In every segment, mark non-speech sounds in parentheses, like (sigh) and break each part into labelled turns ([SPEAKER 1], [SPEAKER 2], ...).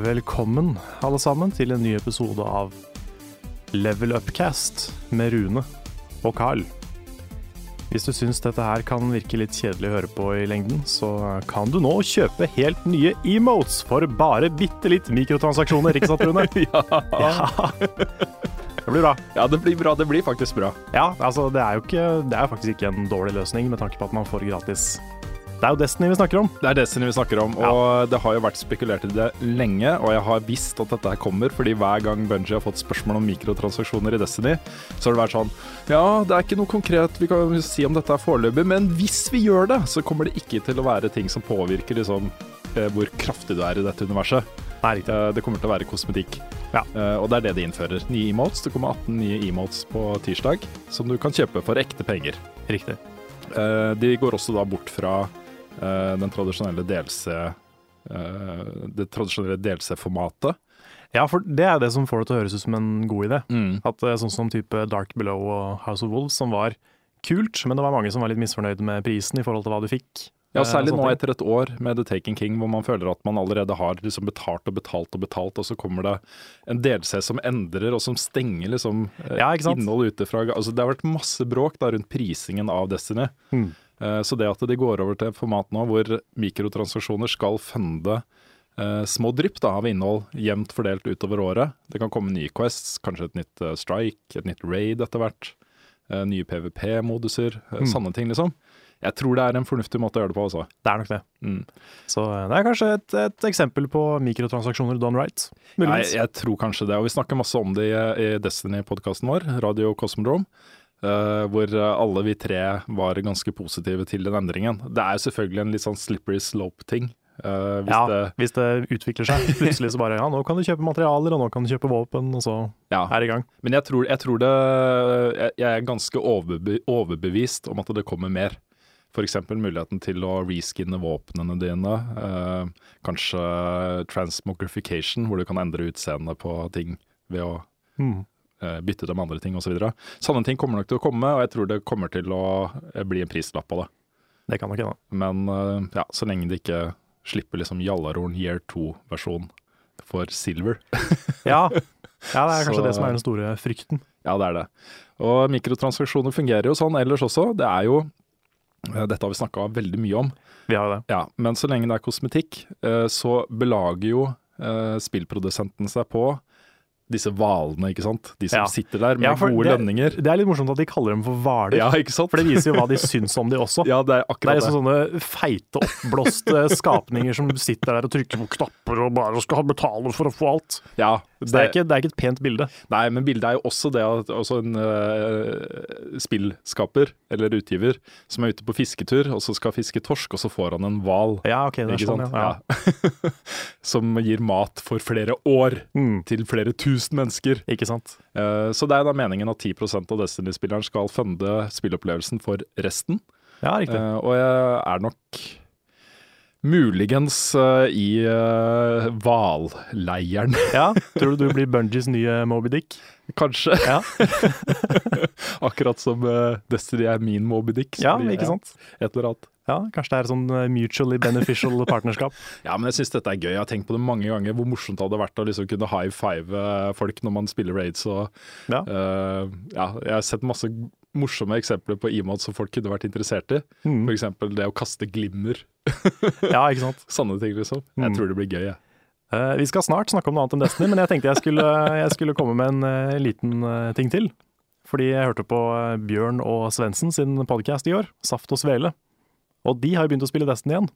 [SPEAKER 1] Velkommen alle sammen til en ny episode av Level Upcast med Rune og Carl. Hvis du syns dette her kan virke litt kjedelig å høre på i lengden, så kan du nå kjøpe helt nye emotes for bare bitte litt mikrotransaksjoner, ikke sant, Rune? ja. Det blir bra.
[SPEAKER 2] Ja, det blir bra. Det blir faktisk bra.
[SPEAKER 1] Ja, altså det er jo ikke, det er faktisk ikke en dårlig løsning med tanke på at man får gratis. Det er jo Destiny vi snakker om.
[SPEAKER 2] Det er Destiny vi snakker om, og det har jo vært spekulert i det lenge. Og jeg har visst at dette her kommer, fordi hver gang Bungie har fått spørsmål om mikrotransaksjoner i Destiny, så har det vært sånn Ja, det er ikke noe konkret vi kan si om dette er foreløpig, men hvis vi gjør det, så kommer det ikke til å være ting som påvirker liksom eh, hvor kraftig du er i dette universet.
[SPEAKER 1] Nei, riktig.
[SPEAKER 2] Eh, Det kommer til å være kosmetikk.
[SPEAKER 1] Ja.
[SPEAKER 2] Eh, Og det er det de innfører. Nye emotes. Det kommer 18 nye emotes på tirsdag, som du kan kjøpe for ekte penger.
[SPEAKER 1] Riktig.
[SPEAKER 2] Eh, De går også da bort fra eh, den tradisjonelle DLC eh, det tradisjonelle DLC-formatet.
[SPEAKER 1] Ja, for det er det som får det til å høres ut som en god idé.
[SPEAKER 2] Mm.
[SPEAKER 1] At eh, Sånn som type Dark Below og House of Wolves, som var kult, men det var mange som var litt misfornøyd med prisen i forhold til hva du fikk.
[SPEAKER 2] Ja,
[SPEAKER 1] Eh,
[SPEAKER 2] Særlig
[SPEAKER 1] og
[SPEAKER 2] nå
[SPEAKER 1] sånne ting.
[SPEAKER 2] etter et år med The Taken King, hvor man føler at man allerede har liksom betalt og betalt og betalt, og så kommer det en DLC som endrer og som stenger liksom eh,
[SPEAKER 1] Ja, ikke sant?
[SPEAKER 2] innholdet ute fra altså, Det har vært masse bråk da rundt prisingen av Destiny.
[SPEAKER 1] Mm.
[SPEAKER 2] Eh, Så det at de går over til et format nå hvor mikrotransaksjoner skal funde eh, små drypp da, av innhold jevnt fordelt utover året. Det kan komme nye quests, kanskje et nytt eh, strike, et nytt raid etter hvert. eh, Nye PVP-moduser, eh, sånne ting liksom. Jeg tror det er en fornuftig måte å gjøre det på altså. også.
[SPEAKER 1] Det er nok det.
[SPEAKER 2] Mm.
[SPEAKER 1] Så eh, det er kanskje et, et eksempel på mikrotransaksjoner done right.
[SPEAKER 2] Nei,
[SPEAKER 1] Muligens.
[SPEAKER 2] jeg tror kanskje det. Og vi snakker masse om det i, i Destiny-podkasten vår, Radio Cosmodrome. eh, hvor eh, alle vi tre var ganske positive til den endringen. Det er jo selvfølgelig en litt sånn slippery slope-ting. eh, hvis
[SPEAKER 1] ja,
[SPEAKER 2] det
[SPEAKER 1] hvis det utvikler
[SPEAKER 2] (laughs)
[SPEAKER 1] seg. Plutselig så bare ja, nå kan du kjøpe materialer, og nå kan du kjøpe våpen, og så
[SPEAKER 2] Ja,
[SPEAKER 1] er det i gang.
[SPEAKER 2] men jeg tror, jeg tror det jeg- Jeg er ganske overbe, overbevist om at det kommer mer. F.eks. muligheten til å reskinne våpnene dine. eh, kanskje transmogrification, hvor du kan endre utseendet på ting ved å
[SPEAKER 1] Mm.
[SPEAKER 2] eh, bytte dem med andre ting osv. Så Sånne ting kommer nok til å komme, og jeg tror det kommer til å eh, bli en prislapp av det.
[SPEAKER 1] Det kan
[SPEAKER 2] (laughs)
[SPEAKER 1] nok hende.
[SPEAKER 2] Men eh, ja, så lenge de ikke slipper liksom Jallarhorn year 2-versjon for silver.
[SPEAKER 1] Ja. ja, det er kanskje
[SPEAKER 2] Så-
[SPEAKER 1] det som er den store frykten.
[SPEAKER 2] Ja, det er det. Og mikrotransaksjoner fungerer jo sånn ellers også. Det er jo eh, Dette har vi snakka veldig mye om,
[SPEAKER 1] Vi har jo det.
[SPEAKER 2] ja, men så lenge det er kosmetikk, eh, så belager jo eh, spillprodusenten seg på disse hvalene, ikke sant. De som
[SPEAKER 1] Ja.
[SPEAKER 2] sitter der med
[SPEAKER 1] Ja, for
[SPEAKER 2] gode
[SPEAKER 1] det,
[SPEAKER 2] lønninger.
[SPEAKER 1] Det er litt morsomt at de kaller dem for hvaler,
[SPEAKER 2] Ja, ikke sant?
[SPEAKER 1] for det viser jo hva de syns om de også.
[SPEAKER 2] Ja, det er
[SPEAKER 1] Det er
[SPEAKER 2] akkurat det.
[SPEAKER 1] liksom sånne feite, oppblåste skapninger som sitter der og trykker på knapper og bare skal betale for å få alt.
[SPEAKER 2] Ja,
[SPEAKER 1] Så det er ikke, det er ikke et pent bilde.
[SPEAKER 2] Nei, men bildet er jo også det at også en eh, spillskaper, eller utgiver, som er ute på fisketur, og så skal fiske torsk, og så får han en hval.
[SPEAKER 1] Ja, ok, det er
[SPEAKER 2] Ikke
[SPEAKER 1] sånn,
[SPEAKER 2] sant?
[SPEAKER 1] ja. ja.
[SPEAKER 2] Ja. (laughs) som gir mat for flere år
[SPEAKER 1] Mm.
[SPEAKER 2] til flere tusen mennesker.
[SPEAKER 1] Ikke sant?
[SPEAKER 2] Eh, Så det er da meningen at 10 av Destiny-spilleren skal funde spilleopplevelsen for resten.
[SPEAKER 1] Ja, riktig.
[SPEAKER 2] Eh, og jeg er nok muligens eh, i eh, hvalleiren, (laughs)
[SPEAKER 1] Ja, Tror du du blir Bungies nye Moby Dick?
[SPEAKER 2] kanskje.
[SPEAKER 1] (laughs) Ja.
[SPEAKER 2] Akkurat som eh, Destiny er min Moby Dick. så
[SPEAKER 1] Ja,
[SPEAKER 2] blir jeg
[SPEAKER 1] ikke sant?
[SPEAKER 2] Et eller annet.
[SPEAKER 1] Ja, Kanskje det er sånn eh, mutually beneficial partnerskap.
[SPEAKER 2] Ja, men jeg syns dette er gøy. Jeg har tenkt på det mange ganger hvor morsomt det hadde vært å liksom kunne high five eh, folk når man spiller raids og
[SPEAKER 1] Ja.
[SPEAKER 2] Eh, ja, jeg har sett masse morsomme eksempler på emotes som folk kunne vært interessert i.
[SPEAKER 1] Mm.
[SPEAKER 2] For eksempel det å kaste glimmer.
[SPEAKER 1] Ja, ikke sant?
[SPEAKER 2] Sanne ting, liksom.
[SPEAKER 1] Mm.
[SPEAKER 2] Jeg tror det blir gøy, jeg.
[SPEAKER 1] Eh, vi skal snart snakke om noe annet enn Destiny, men jeg tenkte jeg skulle, (laughs) jeg skulle komme med en eh, liten eh, ting til. Fordi jeg hørte på eh, Bjørn og Svendsen sin podcast i år, Saft og Svele. Og de har jo begynt å spille Destiny igjen.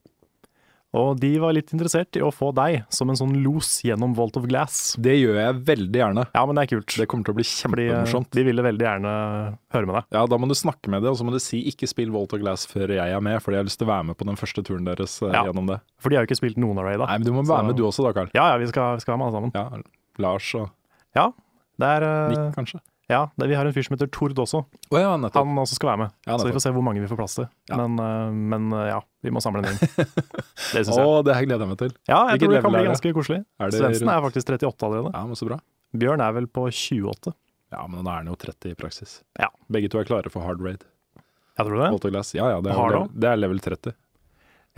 [SPEAKER 1] Og de var litt interessert i å få deg som en sånn los gjennom Volt of Glass.
[SPEAKER 2] Det gjør jeg veldig gjerne.
[SPEAKER 1] Ja, men det er kult.
[SPEAKER 2] Det kommer til å bli
[SPEAKER 1] Fordi eh,
[SPEAKER 2] kjempemorsomt.
[SPEAKER 1] de ville veldig gjerne høre med deg.
[SPEAKER 2] Ja, Da må du snakke med det, og så må du si 'ikke spill Volt of Glass' før jeg er med, fordi jeg har lyst til å være med på den første turen deres eh,
[SPEAKER 1] Ja.
[SPEAKER 2] gjennom det.
[SPEAKER 1] For de har jo ikke spilt noen av Raid, da.
[SPEAKER 2] Nei, men Du må
[SPEAKER 1] Så-
[SPEAKER 2] være med du også da, Karl.
[SPEAKER 1] Ja, ja, vi skal, vi skal være med alle sammen.
[SPEAKER 2] Ja, Lars og
[SPEAKER 1] Ja, det er eh,
[SPEAKER 2] Nick, kanskje.
[SPEAKER 1] Ja, det, vi har en fyr som heter Tord også.
[SPEAKER 2] Å ja, nettopp.
[SPEAKER 1] Han også skal være med.
[SPEAKER 2] Ja,
[SPEAKER 1] så vi
[SPEAKER 2] nettopp.
[SPEAKER 1] får se hvor mange vi får plass til.
[SPEAKER 2] Ja.
[SPEAKER 1] Men, øh, men øh, ja, vi må samle en
[SPEAKER 2] (laughs)
[SPEAKER 1] gjeng. Det syns
[SPEAKER 2] Å,
[SPEAKER 1] jeg.
[SPEAKER 2] det her gleder jeg meg til.
[SPEAKER 1] Ja, jeg
[SPEAKER 2] hvilket
[SPEAKER 1] tror det kan
[SPEAKER 2] level
[SPEAKER 1] bli
[SPEAKER 2] er det?
[SPEAKER 1] ganske koselig.
[SPEAKER 2] Er det
[SPEAKER 1] Svendsen er
[SPEAKER 2] rundt-
[SPEAKER 1] faktisk 38 allerede.
[SPEAKER 2] Ja, men så bra.
[SPEAKER 1] Bjørn er vel på 28.
[SPEAKER 2] Ja, men nå er han jo 30 i praksis.
[SPEAKER 1] Ja.
[SPEAKER 2] Begge to er klare for hard raid.
[SPEAKER 1] Jeg tror det.
[SPEAKER 2] Volt of Glass. Ja, ja, det er,
[SPEAKER 1] Hard
[SPEAKER 2] level, det er level 30.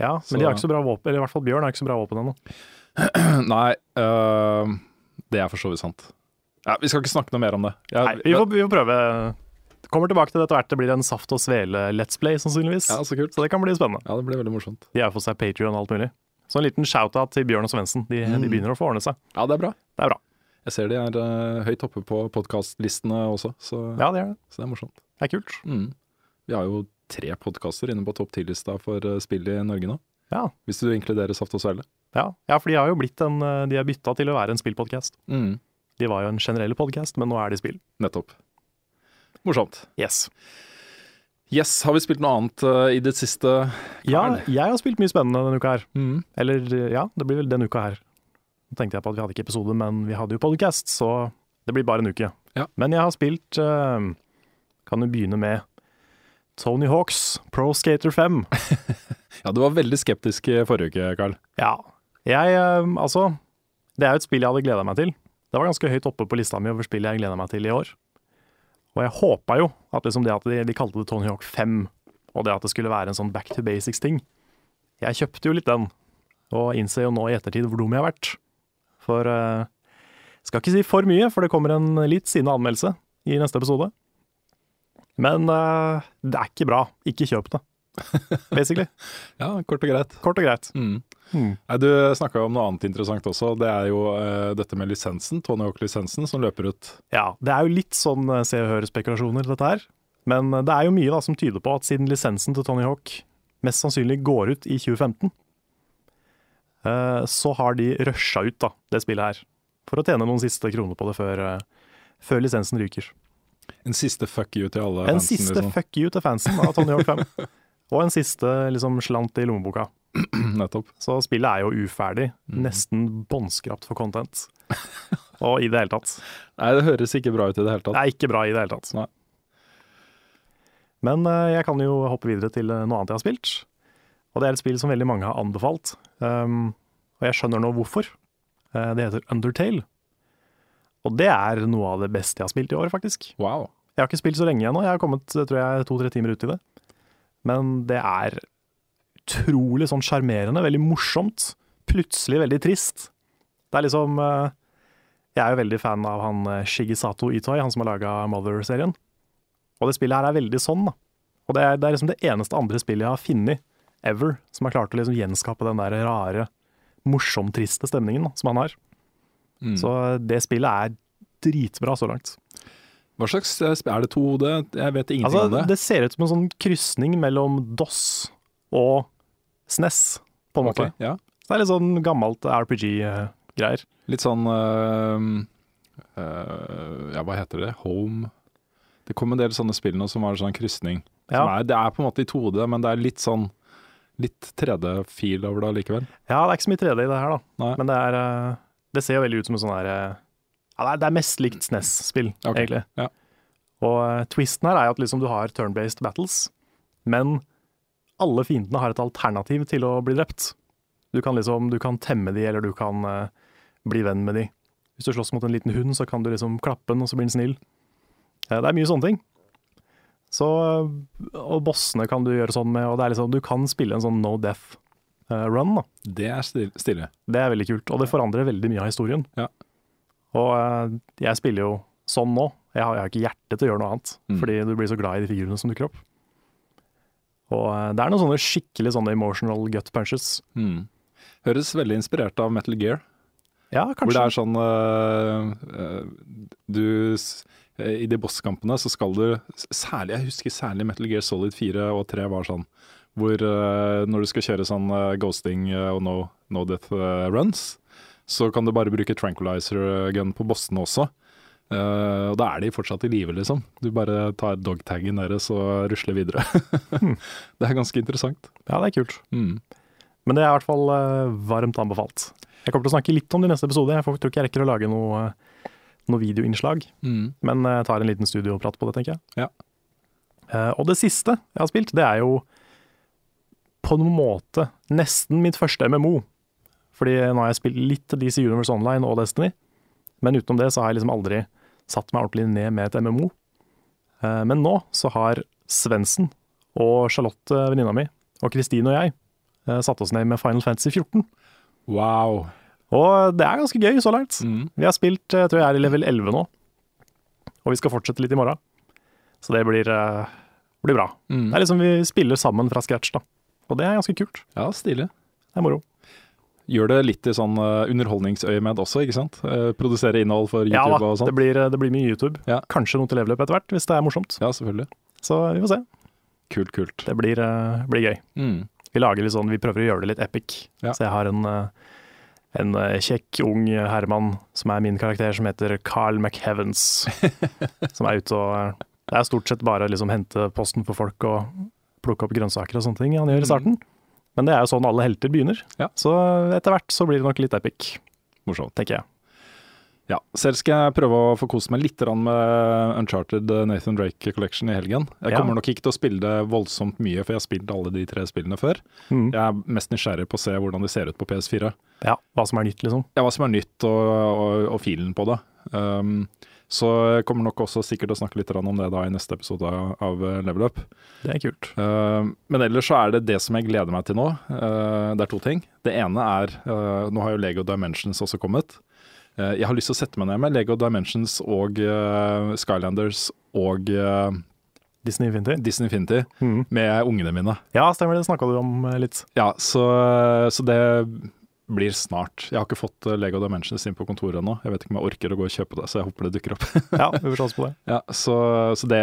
[SPEAKER 1] Ja, men
[SPEAKER 2] Så-
[SPEAKER 1] de har ikke så bra våpen, eller i hvert fall Bjørn har ikke så bra våpen ennå.
[SPEAKER 2] (clears throat) Nei, øh, det er for så vidt sant. Ja, vi skal ikke snakke noe mer om det. Jeg-
[SPEAKER 1] Nei, vi får, vi får prøve. Kommer tilbake til dette hvert. Det blir en Saft og Svele-let's play, sannsynligvis.
[SPEAKER 2] Ja, så kult.
[SPEAKER 1] Så det kan bli spennende.
[SPEAKER 2] Ja, det blir veldig morsomt.
[SPEAKER 1] De har fått seg Patrion og alt mulig. Så en liten shout-out til Bjørn og Svendsen. De,
[SPEAKER 2] Mm.
[SPEAKER 1] de begynner å få ordne seg.
[SPEAKER 2] Ja, det er bra.
[SPEAKER 1] Det er bra.
[SPEAKER 2] Jeg ser de er øh, høyt oppe på podkastlistene også, så,
[SPEAKER 1] Ja, det er det.
[SPEAKER 2] så det er morsomt.
[SPEAKER 1] Det er kult.
[SPEAKER 2] Mm. Vi har jo tre podkaster inne på topp 10-lista for øh, spill i Norge nå.
[SPEAKER 1] Ja.
[SPEAKER 2] Hvis du inkluderer Saft og Svele.
[SPEAKER 1] Ja, ja for de har jo blitt en øh, De er bytta til å være en spillpodkast.
[SPEAKER 2] Mm.
[SPEAKER 1] De var jo en generell podkast, men nå er de spill.
[SPEAKER 2] Nettopp. Morsomt.
[SPEAKER 1] Yes.
[SPEAKER 2] Yes, har vi spilt noe annet øh, i det siste?
[SPEAKER 1] Ja,
[SPEAKER 2] Karl?
[SPEAKER 1] jeg har spilt mye spennende denne uka her.
[SPEAKER 2] Mm.
[SPEAKER 1] Eller ja, det blir vel denne uka her. Nå tenkte jeg på at vi hadde ikke episode, men vi hadde jo podcast, så det blir bare en uke.
[SPEAKER 2] Ja.
[SPEAKER 1] Men jeg har spilt eh, Kan jo begynne med Tony Hawks Pro Skater 5.
[SPEAKER 2] Ja, du var veldig skeptisk i forrige uke, Karl.
[SPEAKER 1] Ja. Jeg, eh, altså Det er jo et spill jeg hadde gleda meg til. Det var ganske høyt oppe på lista mi over spill jeg gleda meg til i år. Og jeg håpa jo at liksom det at de, de kalte det Tony Hawk 5, og det at det skulle være en sånn back to basics-ting Jeg kjøpte jo litt den, og innser jo nå i ettertid hvor dum jeg har vært. For eh, Skal ikke si for mye, for det kommer en litt sinna anmeldelse i neste episode. Men eh, det er ikke bra. Ikke kjøp det, basically.
[SPEAKER 2] Ja, kort og greit.
[SPEAKER 1] Kort og greit.
[SPEAKER 2] Mm.
[SPEAKER 1] Mm.
[SPEAKER 2] Nei, Du snakka om noe annet interessant også. Det er jo eh, dette med lisensen, Tony Hawk-lisensen, som løper ut.
[SPEAKER 1] Ja, det er jo litt sånn eh, se og hør-spekulasjoner, dette her. Men eh, det er jo mye da som tyder på at siden lisensen til Tony Hawk mest sannsynlig går ut i 2015, eh, så har de rusha ut da, det spillet her. For å tjene noen siste kroner på det før, eh, før lisensen ryker.
[SPEAKER 2] En siste fuck you til alle
[SPEAKER 1] En
[SPEAKER 2] fansen,
[SPEAKER 1] siste
[SPEAKER 2] liksom.
[SPEAKER 1] fuck you til fansen av Tony Hawk 5.
[SPEAKER 2] (laughs)
[SPEAKER 1] Og en siste liksom, slant i lommeboka.
[SPEAKER 2] (laughs) Nettopp.
[SPEAKER 1] Så spillet er jo uferdig.
[SPEAKER 2] Mm.
[SPEAKER 1] Nesten båndskrapt for content. Og i det hele tatt.
[SPEAKER 2] Nei, det høres ikke bra ut i det hele tatt.
[SPEAKER 1] Det er ikke bra i det hele tatt.
[SPEAKER 2] Nei.
[SPEAKER 1] Men eh, jeg kan jo hoppe videre til eh, noe annet jeg har spilt. Og det er et spill som veldig mange har anbefalt. Um, og jeg skjønner nå hvorfor. Eh, det heter Undertale. Og det er noe av det beste jeg har spilt i år, faktisk.
[SPEAKER 2] Wow.
[SPEAKER 1] Jeg har ikke spilt så lenge ennå. Jeg har kommet eh, tror jeg, to-tre timer ut i det. Men det er utrolig sånn sjarmerende, veldig morsomt. Plutselig veldig trist. Det er liksom eh, Jeg er jo veldig fan av han eh, Shigesato Itoi, han som har laga Mother-serien. Og det spillet her er veldig sånn, da. Og det er, det er liksom det eneste andre spillet jeg har funnet ever som har klart å liksom gjenskape den der rare, morsom-triste stemningen da, som han har. Så eh, det spillet er dritbra så langt.
[SPEAKER 2] Hva slags eh, sp- Er det 2D? Jeg vet ingenting
[SPEAKER 1] Altså,
[SPEAKER 2] om det.
[SPEAKER 1] det. ser ut som en sånn krysning mellom DOS og SNES, på en
[SPEAKER 2] Ok,
[SPEAKER 1] måte.
[SPEAKER 2] ja.
[SPEAKER 1] Så det er litt sånn gammelt RPG-greier.
[SPEAKER 2] Litt sånn eh, eh, Ja, hva heter det? Home Det kom en del sånne spill nå som var sånn krysning.
[SPEAKER 1] Ja.
[SPEAKER 2] Som er, det er på en måte i 2D, men det er litt sånn Litt 3D-fil over det allikevel.
[SPEAKER 1] Ja, det er ikke så mye 3D i det her, da.
[SPEAKER 2] Nei.
[SPEAKER 1] Men det, er, eh, det ser jo veldig ut som en sånn her eh, ja, det er- Det er mest likt SNES-spill,
[SPEAKER 2] Ok,
[SPEAKER 1] egentlig.
[SPEAKER 2] ja.
[SPEAKER 1] Og eh, twisten her er jo at liksom du har turn-based battles, men alle fiendene har et alternativ til å bli drept. Du kan liksom, du kan temme de, eller du kan eh, bli venn med de. Hvis du slåss mot en liten hund, så kan du liksom klappe den, og så blir den snill. Eh, det er mye sånne ting. Så, eh, og bossene kan du gjøre sånn med, og det er liksom, du kan spille en sånn no death eh, run, da.
[SPEAKER 2] Det er stil- stille.
[SPEAKER 1] Det er veldig kult, og det forandrer veldig mye av historien.
[SPEAKER 2] Ja.
[SPEAKER 1] Og eh, jeg spiller jo sånn nå. Jeg har, jeg har ikke hjerte til å gjøre noe annet,
[SPEAKER 2] Mm.
[SPEAKER 1] fordi du blir så glad i de figurene som dukker opp. Og eh, det er noen sånne skikkelig sånne emotional gut punches.
[SPEAKER 2] Mm. Høres veldig inspirert av Metal Gear.
[SPEAKER 1] Ja,
[SPEAKER 2] Hvor
[SPEAKER 1] kanskje.
[SPEAKER 2] det er sånn øh, øh, Du s- eh, I de bosskampene så skal du s- Særlig, jeg husker særlig Metal Gear Solid 4 og 3 var sånn. Hvor øh, når du skal kjøre sånn øh, ghosting øh, og no, no death øh, runs, så kan du bare bruke tranquilizer eh, gun på bossene også. Eh, og da er de fortsatt i live, liksom. Du bare tar dogtaggen deres og rusler videre. (laughs) det er ganske interessant.
[SPEAKER 1] Ja, det er kult.
[SPEAKER 2] Mm.
[SPEAKER 1] Men det er i hvert fall eh, varmt anbefalt. Jeg kommer til å snakke litt om det i neste episode. Jeg får- tror ikke jeg rekker å lage noe, eh, noe videoinnslag,
[SPEAKER 2] Mm.
[SPEAKER 1] men eh, jeg tar en liten studioprat på det, tenker jeg.
[SPEAKER 2] Ja.
[SPEAKER 1] Eh, og det siste jeg har spilt, det er jo på noen måte nesten mitt første MMO. Fordi nå har jeg spilt litt DC Universe Online og Destiny, men utenom det så har jeg liksom aldri satt meg ordentlig ned med et MMO. Eh, men nå så har Svendsen og Charlotte, eh, venninna mi, og Kristine og jeg eh, satt oss ned med Final Fantasy 14.
[SPEAKER 2] Wow.
[SPEAKER 1] Og det er ganske gøy så langt.
[SPEAKER 2] Mm.
[SPEAKER 1] Vi har spilt, eh, jeg tror jeg er i level 11 nå. Og vi skal fortsette litt i morgen. Så det blir, eh, blir bra.
[SPEAKER 2] Mm.
[SPEAKER 1] Det er liksom vi spiller sammen fra scratch, da. Og det er ganske kult.
[SPEAKER 2] Ja, stilig.
[SPEAKER 1] Det er moro.
[SPEAKER 2] gjør det litt i sånn eh, underholdningsøyemed også, ikke sant? Eh, produsere innhold for
[SPEAKER 1] Ja
[SPEAKER 2] YouTube
[SPEAKER 1] da,
[SPEAKER 2] og sånn.
[SPEAKER 1] det blir, eh, det blir mye YouTube.
[SPEAKER 2] Ja.
[SPEAKER 1] Kanskje noe til level up etter hvert, hvis det er morsomt.
[SPEAKER 2] Ja, selvfølgelig.
[SPEAKER 1] Så vi får se.
[SPEAKER 2] Kult, kult.
[SPEAKER 1] Det blir, eh, blir gøy.
[SPEAKER 2] Mm.
[SPEAKER 1] Vi lager litt sånn, vi prøver å gjøre det litt epic.
[SPEAKER 2] Ja.
[SPEAKER 1] Så jeg har en, eh, en eh, kjekk, ung herremann som er min karakter, som heter Carl McHevens.
[SPEAKER 2] (laughs)
[SPEAKER 1] som er ute og eh, Det er stort sett bare å liksom hente posten for folk og plukke opp grønnsaker og sånne ting han gjør i starten. Men det er jo sånn alle helter begynner.
[SPEAKER 2] Mm. Ja.
[SPEAKER 1] Så etter hvert så blir det nok litt epic,
[SPEAKER 2] Morsomt.
[SPEAKER 1] tenker jeg.
[SPEAKER 2] Ja, selv skal jeg prøve å få kose meg litt grann med Uncharted eh, Nathan Drake Collection i helgen. Jeg
[SPEAKER 1] Ja.
[SPEAKER 2] kommer nok ikke til å spille det voldsomt mye, for jeg har spilt alle de tre spillene før.
[SPEAKER 1] Mm.
[SPEAKER 2] Jeg er mest nysgjerrig på å se hvordan de ser ut på PS4.
[SPEAKER 1] Ja, hva som er nytt, liksom.
[SPEAKER 2] ja, hva som er nytt og, og, og filen på det. Um, så jeg kommer nok også sikkert til å snakke litt grann om det da i neste episode av eh, Level Up.
[SPEAKER 1] Det er kult.
[SPEAKER 2] Um, men ellers så er det det som jeg gleder meg til nå. Uh, det er to ting. Det ene er uh, Nå har jo Lego Dimensions også kommet. Uh, jeg har lyst til å sette meg ned med Lego Dimensions og uh, Skylanders og uh,
[SPEAKER 1] Disney Infinity.
[SPEAKER 2] Disney Infinity
[SPEAKER 1] Mm.
[SPEAKER 2] med ungene mine.
[SPEAKER 1] Ja, stemmer det. Snakka du om eh, litt.
[SPEAKER 2] Ja, så, så det blir snart. Jeg har ikke fått eh, Lego Dimensions inn på kontoret ennå. Jeg vet ikke om jeg orker å gå og kjøpe det, så jeg håper det dukker opp. (laughs)
[SPEAKER 1] Ja, vi får satse på det.
[SPEAKER 2] ja, så, så det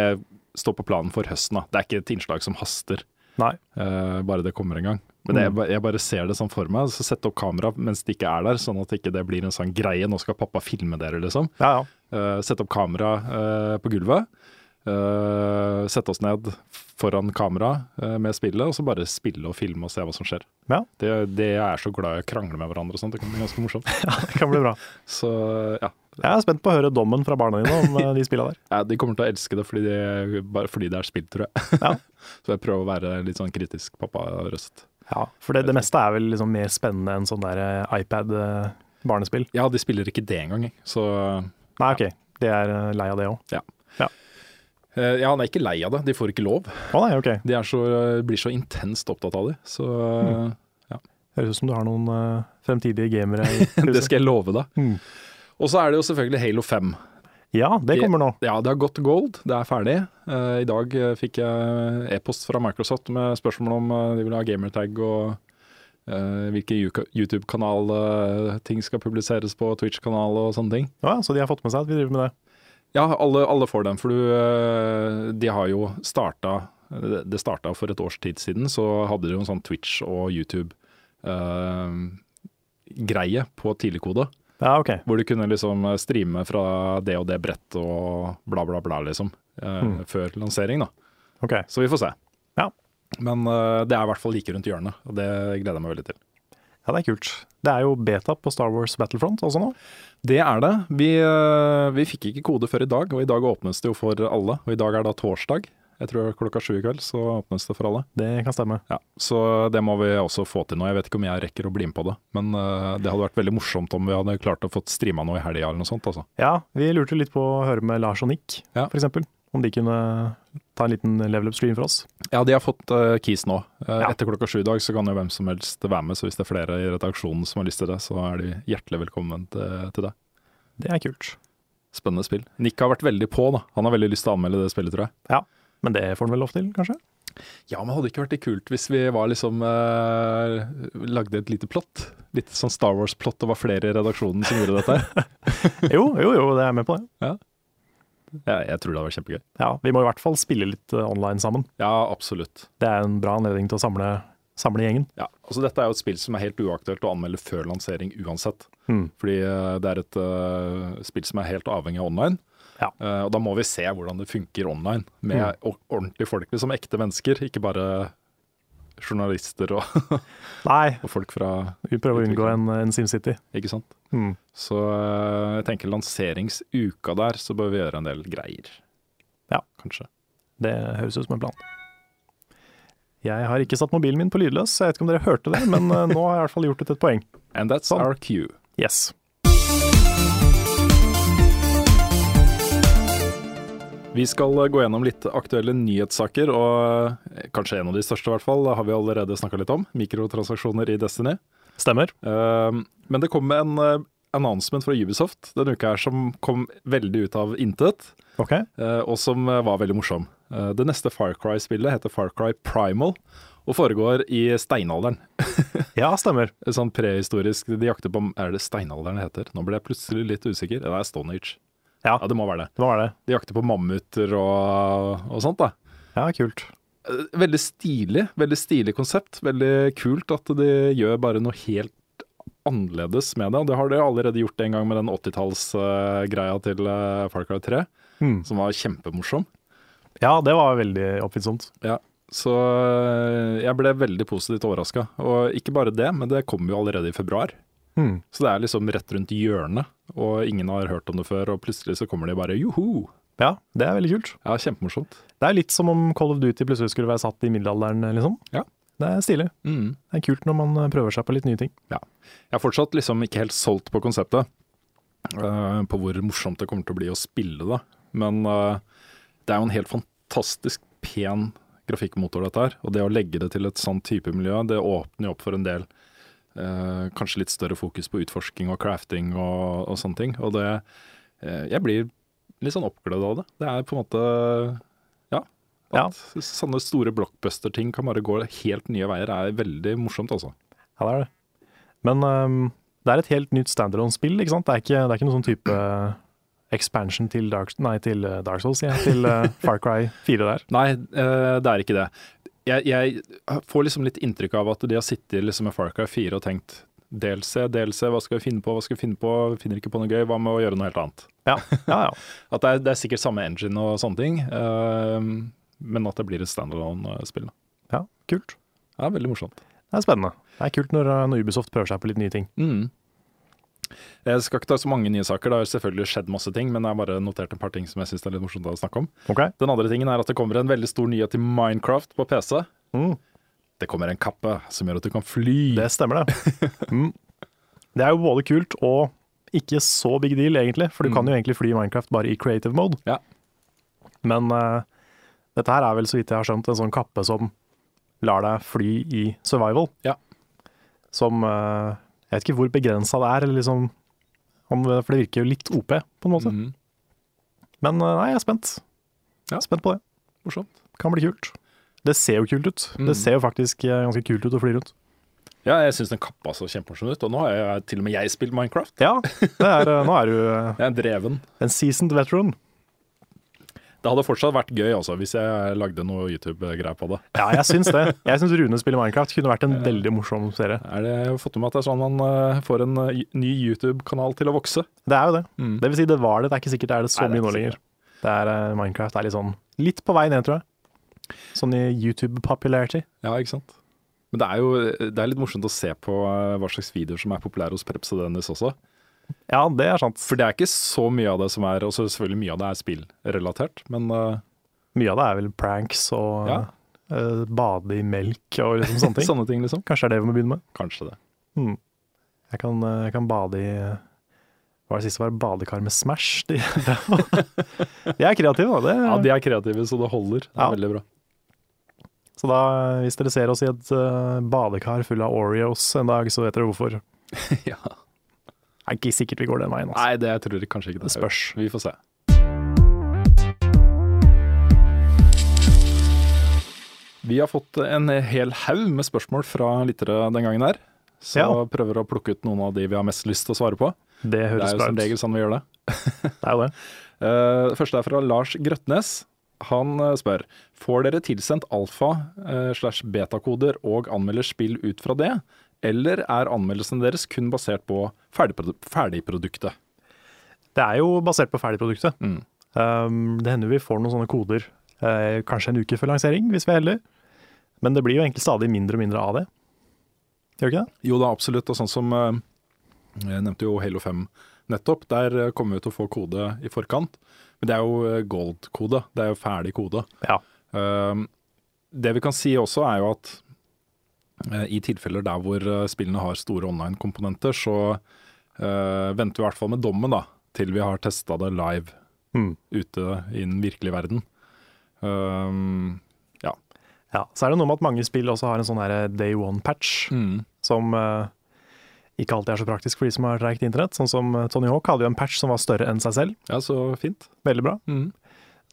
[SPEAKER 2] står på planen for høsten. da. Det er ikke et innslag som haster,
[SPEAKER 1] Nei.
[SPEAKER 2] eh, bare det kommer en gang. Men
[SPEAKER 1] Mm.
[SPEAKER 2] det, jeg, ba- jeg bare ser det sånn for meg. Så sette opp kamera mens det ikke er der, sånn at ikke det ikke blir en sånn greie. Nå skal pappa filme dere, liksom.
[SPEAKER 1] Ja ja.
[SPEAKER 2] Eh, sette opp kamera eh, på gulvet. eh, sette oss ned foran kamera eh, med spillet, og så bare spille og filme og se hva som skjer.
[SPEAKER 1] Ja.
[SPEAKER 2] Det, det jeg er så glad i å krangle med hverandre og sånt, det kan bli ganske
[SPEAKER 1] (laughs)
[SPEAKER 2] morsomt.
[SPEAKER 1] Det kan bli bra.
[SPEAKER 2] Så ja,
[SPEAKER 1] Jeg er spent på å høre dommen fra barna dine om eh, de spilla der.
[SPEAKER 2] Ja, de kommer til å elske det fordi, de, bare fordi det er spill, tror jeg.
[SPEAKER 1] Ja.
[SPEAKER 2] (laughs) så jeg prøver å være litt sånn kritisk pappa-røst.
[SPEAKER 1] Ja, for det, det meste er vel liksom mer spennende enn sånn der eh, iPad-barnespill.
[SPEAKER 2] Ja, de spiller ikke det engang, jeg. så
[SPEAKER 1] Nei, ok. De er eh, lei av det òg.
[SPEAKER 2] ja.
[SPEAKER 1] Ja.
[SPEAKER 2] Eh, Ja, han er ikke lei av det, de får ikke lov.
[SPEAKER 1] Å nei, ok.
[SPEAKER 2] De er så, blir så intenst opptatt av det, så
[SPEAKER 1] Mm.
[SPEAKER 2] eh,
[SPEAKER 1] Høres ut som du har noen eh, fremtidige gamere.
[SPEAKER 2] (laughs)
[SPEAKER 1] i
[SPEAKER 2] det
[SPEAKER 1] huset.
[SPEAKER 2] skal jeg love deg.
[SPEAKER 1] Mm.
[SPEAKER 2] Og så er det jo selvfølgelig Halo 5.
[SPEAKER 1] Ja, det kommer nå.
[SPEAKER 2] Ja, det har gått gold, det er ferdig. Eh, I dag eh, fikk jeg e-post fra Microsoft med spørsmål om eh, de vil ha gamertag og eh, hvilken Yuka- YouTube-kanal eh, ting skal publiseres på, Twitch-kanal og sånne ting.
[SPEAKER 1] Ja, så de har fått med seg at vi driver med det.
[SPEAKER 2] Ja, alle, alle får den, for du, eh, de har jo starta det- Det starta for et års tid siden, så hadde de jo en sånn Twitch og YouTube-greie på tidligkode.
[SPEAKER 1] Ja, ok.
[SPEAKER 2] Hvor du kunne liksom streame fra det og det brettet og bla, bla, bla, liksom. eh, Før lansering, da.
[SPEAKER 1] ok.
[SPEAKER 2] Så vi får se.
[SPEAKER 1] Ja.
[SPEAKER 2] Men eh, det er i hvert fall like rundt hjørnet, og det gleder jeg meg veldig til.
[SPEAKER 1] Ja, det er kult. Det er jo beta på Star Wars Battlefront også nå.
[SPEAKER 2] Det er det. Vi, eh, vi fikk ikke kode før i dag, og i dag åpnes det jo for alle. Og i dag er da torsdag. Jeg tror klokka sju i kveld så åpnes det for alle.
[SPEAKER 1] Det kan stemme.
[SPEAKER 2] Ja, Så det må vi også få til nå. Jeg vet ikke om jeg rekker å bli med på det. Men eh, det hadde vært veldig morsomt om vi hadde klart å få streama noe i helga eller noe sånt. altså.
[SPEAKER 1] Ja, vi lurte litt på å høre med Lars og Nick,
[SPEAKER 2] Ja.
[SPEAKER 1] for eksempel. Om de kunne ta en liten level up-stream for oss.
[SPEAKER 2] Ja, de har fått eh, keys nå. Eh,
[SPEAKER 1] Ja.
[SPEAKER 2] Etter klokka sju i dag så kan jo hvem som helst være med. Så hvis det er flere i redaksjonen som har lyst til det, så er de hjertelig velkommen til, til det.
[SPEAKER 1] Det er kult.
[SPEAKER 2] Spennende spill. Nick har vært veldig på, da. Han har veldig lyst til å anmelde det spillet, tror jeg.
[SPEAKER 1] Men det får han vel lov til,
[SPEAKER 2] (laughs)
[SPEAKER 1] kanskje?
[SPEAKER 2] Ja, men hadde det ikke vært litt kult hvis vi var liksom eh, lagde et lite plott? Litt sånn Star Wars-plott, og var flere i redaksjonen som gjorde dette? her?
[SPEAKER 1] Jo, jo, jo, det er jeg med på det.
[SPEAKER 2] (laughs) ja, jeg tror det hadde vært kjempegøy.
[SPEAKER 1] Ja, Vi må i hvert fall spille litt eh, online sammen.
[SPEAKER 2] Ja, absolutt.
[SPEAKER 1] Det er en bra anledning til å samle, samle gjengen.
[SPEAKER 2] Ja, altså Dette er jo et spill som er helt uaktuelt å anmelde før lansering uansett.
[SPEAKER 1] Mm.
[SPEAKER 2] Fordi eh, det er et eh, spill som er helt avhengig av online.
[SPEAKER 1] Ja.
[SPEAKER 2] Eh, og da må vi se hvordan det funker online, med
[SPEAKER 1] Mm.
[SPEAKER 2] or- ordentlige folk, liksom ekte mennesker. Ikke bare journalister og, (laughs)
[SPEAKER 1] Nei,
[SPEAKER 2] og folk fra
[SPEAKER 1] vi prøver å unngå en, en SimCity.
[SPEAKER 2] Ikke sant.
[SPEAKER 1] Mm.
[SPEAKER 2] Så eh, jeg tenker lanseringsuka der, så bør vi gjøre en del greier.
[SPEAKER 1] Ja.
[SPEAKER 2] Kanskje.
[SPEAKER 1] Det høres ut som en plan. Jeg har ikke satt mobilen min på lydløs, så jeg vet ikke om dere hørte det, men eh, nå har jeg i hvert fall gjort det til et poeng.
[SPEAKER 2] And that's
[SPEAKER 1] Sånn.
[SPEAKER 2] our cue.
[SPEAKER 1] Yes.
[SPEAKER 2] Vi skal eh, gå gjennom litt aktuelle nyhetssaker, og eh, kanskje en av de største i hvert fall, har vi allerede snakka litt om. Mikrotransaksjoner i Destiny.
[SPEAKER 1] Stemmer.
[SPEAKER 2] Eh, Men det kom en eh, announcement fra Ubisoft denne uka her som kom veldig ut av intet,
[SPEAKER 1] Ok.
[SPEAKER 2] eh, og som eh, var veldig morsom. Eh, Det neste Far Cry-spillet heter Far Cry Primal, og foregår i steinalderen.
[SPEAKER 1] Ja, stemmer.
[SPEAKER 2] Sånn prehistorisk De jakter på Er det steinalderen det heter? Nå ble jeg plutselig litt usikker. Det er Stone Age.
[SPEAKER 1] Ja.
[SPEAKER 2] Ja, det må være det.
[SPEAKER 1] Det var det.
[SPEAKER 2] De jakter på mammuter og, og sånt, da.
[SPEAKER 1] Ja, kult.
[SPEAKER 2] Eh, Veldig stilig. Veldig stilig konsept. Veldig kult at de gjør bare noe helt annerledes med det. Og det har de allerede gjort en gang med den 80-tallsgreia til eh, Far Cry 3,
[SPEAKER 1] Mm.
[SPEAKER 2] som var kjempemorsom.
[SPEAKER 1] Ja, det var veldig oppfinnsomt.
[SPEAKER 2] Ja. Så eh, jeg ble veldig positivt overraska. Og ikke bare det, men det kom jo allerede i februar.
[SPEAKER 1] Mm.
[SPEAKER 2] Så det er liksom rett rundt hjørnet, og ingen har hørt om det før, og plutselig så kommer de bare joho!
[SPEAKER 1] Ja, det er veldig kult.
[SPEAKER 2] Ja, kjempemorsomt.
[SPEAKER 1] Det er litt som om Call of Duty plutselig skulle være satt i middelalderen, liksom.
[SPEAKER 2] Ja.
[SPEAKER 1] Det er stilig.
[SPEAKER 2] Mm.
[SPEAKER 1] Det er kult når man eh, prøver seg på litt nye ting.
[SPEAKER 2] Ja. Jeg er fortsatt liksom ikke helt solgt på konseptet, eh, på hvor morsomt det kommer til å bli å spille det. Men eh, det er jo en helt fantastisk pen grafikkmotor dette her, og det å legge det til et sånn type miljø, det åpner jo opp for en del eh, kanskje litt større fokus på utforsking og crafting og, og sånne ting. Og det eh, Jeg blir litt sånn oppglødd av det. Det er på en måte ja.
[SPEAKER 1] Ja.
[SPEAKER 2] At sånne store blockbuster-ting kan bare gå helt nye veier, er veldig morsomt, altså.
[SPEAKER 1] Ja, det er det. Men ehm, det er et helt nytt standalone-spill, ikke sant? Det er ikke, det er ikke noen sånn type expansion til Dark, nei, til eh, Dark Souls, sier jeg, til eh, Far Cry 4 der.
[SPEAKER 2] Nei, eh, det er ikke det. Jeg, jeg får liksom litt inntrykk av at de har sittet liksom med Far Cry 4 og tenkt DLC, DLC, hva skal vi finne på, hva skal vi finne på, vi finner ikke på noe gøy, hva med å gjøre noe helt annet?
[SPEAKER 1] Ja, ja, ja.
[SPEAKER 2] At det er, det er sikkert samme engine og sånne ting, eh, men at det blir et standalone-spill. da.
[SPEAKER 1] ja kult.
[SPEAKER 2] Det er veldig morsomt.
[SPEAKER 1] Det er spennende. Det er kult når, eh, når Ubisoft prøver seg på litt nye ting.
[SPEAKER 2] Mm. Jeg skal ikke ta så mange nye saker, det har jo selvfølgelig skjedd masse ting, men jeg har bare notert et par ting som jeg syns er litt morsomt å snakke om.
[SPEAKER 1] Ok?
[SPEAKER 2] Den andre tingen er at det kommer en veldig stor nyhet til Minecraft på PC.
[SPEAKER 1] Mm.
[SPEAKER 2] Det kommer en kappe som gjør at du kan fly.
[SPEAKER 1] Det stemmer, det. Mm. Det er jo både kult og ikke så big deal, egentlig. For du kan jo egentlig fly i Minecraft bare i creative mode.
[SPEAKER 2] Mm. Ja.
[SPEAKER 1] Men eh, dette her er vel, så vidt jeg har skjønt, en sånn kappe som lar deg fly i survival.
[SPEAKER 2] Ja.
[SPEAKER 1] Som eh, Jeg vet ikke hvor begrensa det er, eller liksom om, For det virker jo litt OP, på en måte.
[SPEAKER 2] Mhm.
[SPEAKER 1] Men eh, nei, jeg er spent.
[SPEAKER 2] Ja.
[SPEAKER 1] Spent på det.
[SPEAKER 2] Morsomt.
[SPEAKER 1] Kan bli kult. Det ser jo kult ut.
[SPEAKER 2] Mm.
[SPEAKER 1] Det ser jo faktisk eh, ganske kult ut å fly rundt.
[SPEAKER 2] Ja, jeg syns den kappa så kjempemorsom ut, og nå har jeg, til og med jeg spilt Minecraft.
[SPEAKER 1] Ja, det er, nå er du eh,
[SPEAKER 2] Jeg er dreven.
[SPEAKER 1] en seasoned veteran.
[SPEAKER 2] Det hadde fortsatt vært gøy altså, hvis jeg lagde noe YouTube-greier på det.
[SPEAKER 1] Ja, jeg syns det. Jeg syns Rune spiller Minecraft kunne vært en veldig morsom serie.
[SPEAKER 2] Er det, jeg har fått med meg at det er sånn man eh, får en eh, ny YouTube-kanal til å vokse.
[SPEAKER 1] Det er jo det.
[SPEAKER 2] Mm.
[SPEAKER 1] Det vil si, det var det. Det er ikke sikkert det er det så
[SPEAKER 2] Nei, det er
[SPEAKER 1] mye nå
[SPEAKER 2] ikke
[SPEAKER 1] lenger. Det er, eh, Minecraft er litt sånn litt på vei ned, tror jeg. Sånn i YouTube-popularity.
[SPEAKER 2] Ja, ikke sant? Men det er jo det er litt morsomt å se på eh, hva slags videoer som er populære hos Preps og Dennis også.
[SPEAKER 1] Ja, det er sant.
[SPEAKER 2] For det er ikke så mye av det som er Og så selvfølgelig mye av det er spillrelatert, men eh,
[SPEAKER 1] Mye av det er vel pranks og
[SPEAKER 2] Ja.
[SPEAKER 1] eh, bade i melk og liksom sånne (laughs) ting.
[SPEAKER 2] Sånne ting, liksom.
[SPEAKER 1] Kanskje det er det vi må begynne med.
[SPEAKER 2] Kanskje det.
[SPEAKER 1] Hmm. Jeg, kan, eh, jeg kan bade i eh, Hva var det siste var? Badekar med Smash? (laughs) De, det var- de er kreative, da. Det,
[SPEAKER 2] Ja, de er kreative, så det holder. Det er
[SPEAKER 1] Ja. (laughs)
[SPEAKER 2] Veldig bra.
[SPEAKER 1] Så da, hvis dere ser oss i et eh, badekar full av Oreos en dag, så vet dere hvorfor. Det
[SPEAKER 2] Ja.
[SPEAKER 1] er ikke sikkert vi går den veien. Altså.
[SPEAKER 2] Nei, det jeg tror jeg kanskje ikke det.
[SPEAKER 1] Det spørs.
[SPEAKER 2] Vi får se. Vi har fått en hel haug med spørsmål fra lyttere den gangen her. Så
[SPEAKER 1] Ja.
[SPEAKER 2] prøver å plukke ut noen av de vi har mest lyst til å svare på.
[SPEAKER 1] Det
[SPEAKER 2] Det
[SPEAKER 1] høres
[SPEAKER 2] er jo
[SPEAKER 1] bra
[SPEAKER 2] som
[SPEAKER 1] ut.
[SPEAKER 2] regel sånn vi gjør det.
[SPEAKER 1] Det er jo det.
[SPEAKER 2] Eh, Det første er fra Lars Grøtnes. Han eh, spør Får dere tilsendt alfa eh, slash betakoder og anmelder spill ut fra det, eller er anmeldelsen deres kun basert på ferdigprodu ferdigproduktet?
[SPEAKER 1] Det er jo basert på ferdigproduktet.
[SPEAKER 2] Mm.
[SPEAKER 1] Um, det hender vi får noen sånne koder eh, kanskje en uke før lansering, hvis vi er heldige. Men det blir jo egentlig stadig mindre og mindre av det. Gjør det ikke det?
[SPEAKER 2] Jo da, absolutt. Og sånn som eh, Jeg nevnte jo Halo 5 nettopp. Der eh, kommer vi til å få kode i forkant. Men det er jo eh, gold-kode. Det er jo ferdig kode.
[SPEAKER 1] Ja.
[SPEAKER 2] Um, Det vi kan si også er jo at eh, i tilfeller der hvor eh, spillene har store online-komponenter, så eh, venter vi i hvert fall med dommen da, til vi har testa det live
[SPEAKER 1] Mm.
[SPEAKER 2] ute i den virkelige verden. Um, ja.
[SPEAKER 1] ja. Så er det noe med at mange spill også har en sånn her day one-patch,
[SPEAKER 2] Mm.
[SPEAKER 1] som eh, ikke alltid er så praktisk for de som har treigt internett. Sånn som eh, Tony Hawk hadde jo en patch som var større enn seg selv.
[SPEAKER 2] ja, så fint.
[SPEAKER 1] Veldig bra.
[SPEAKER 2] Mm.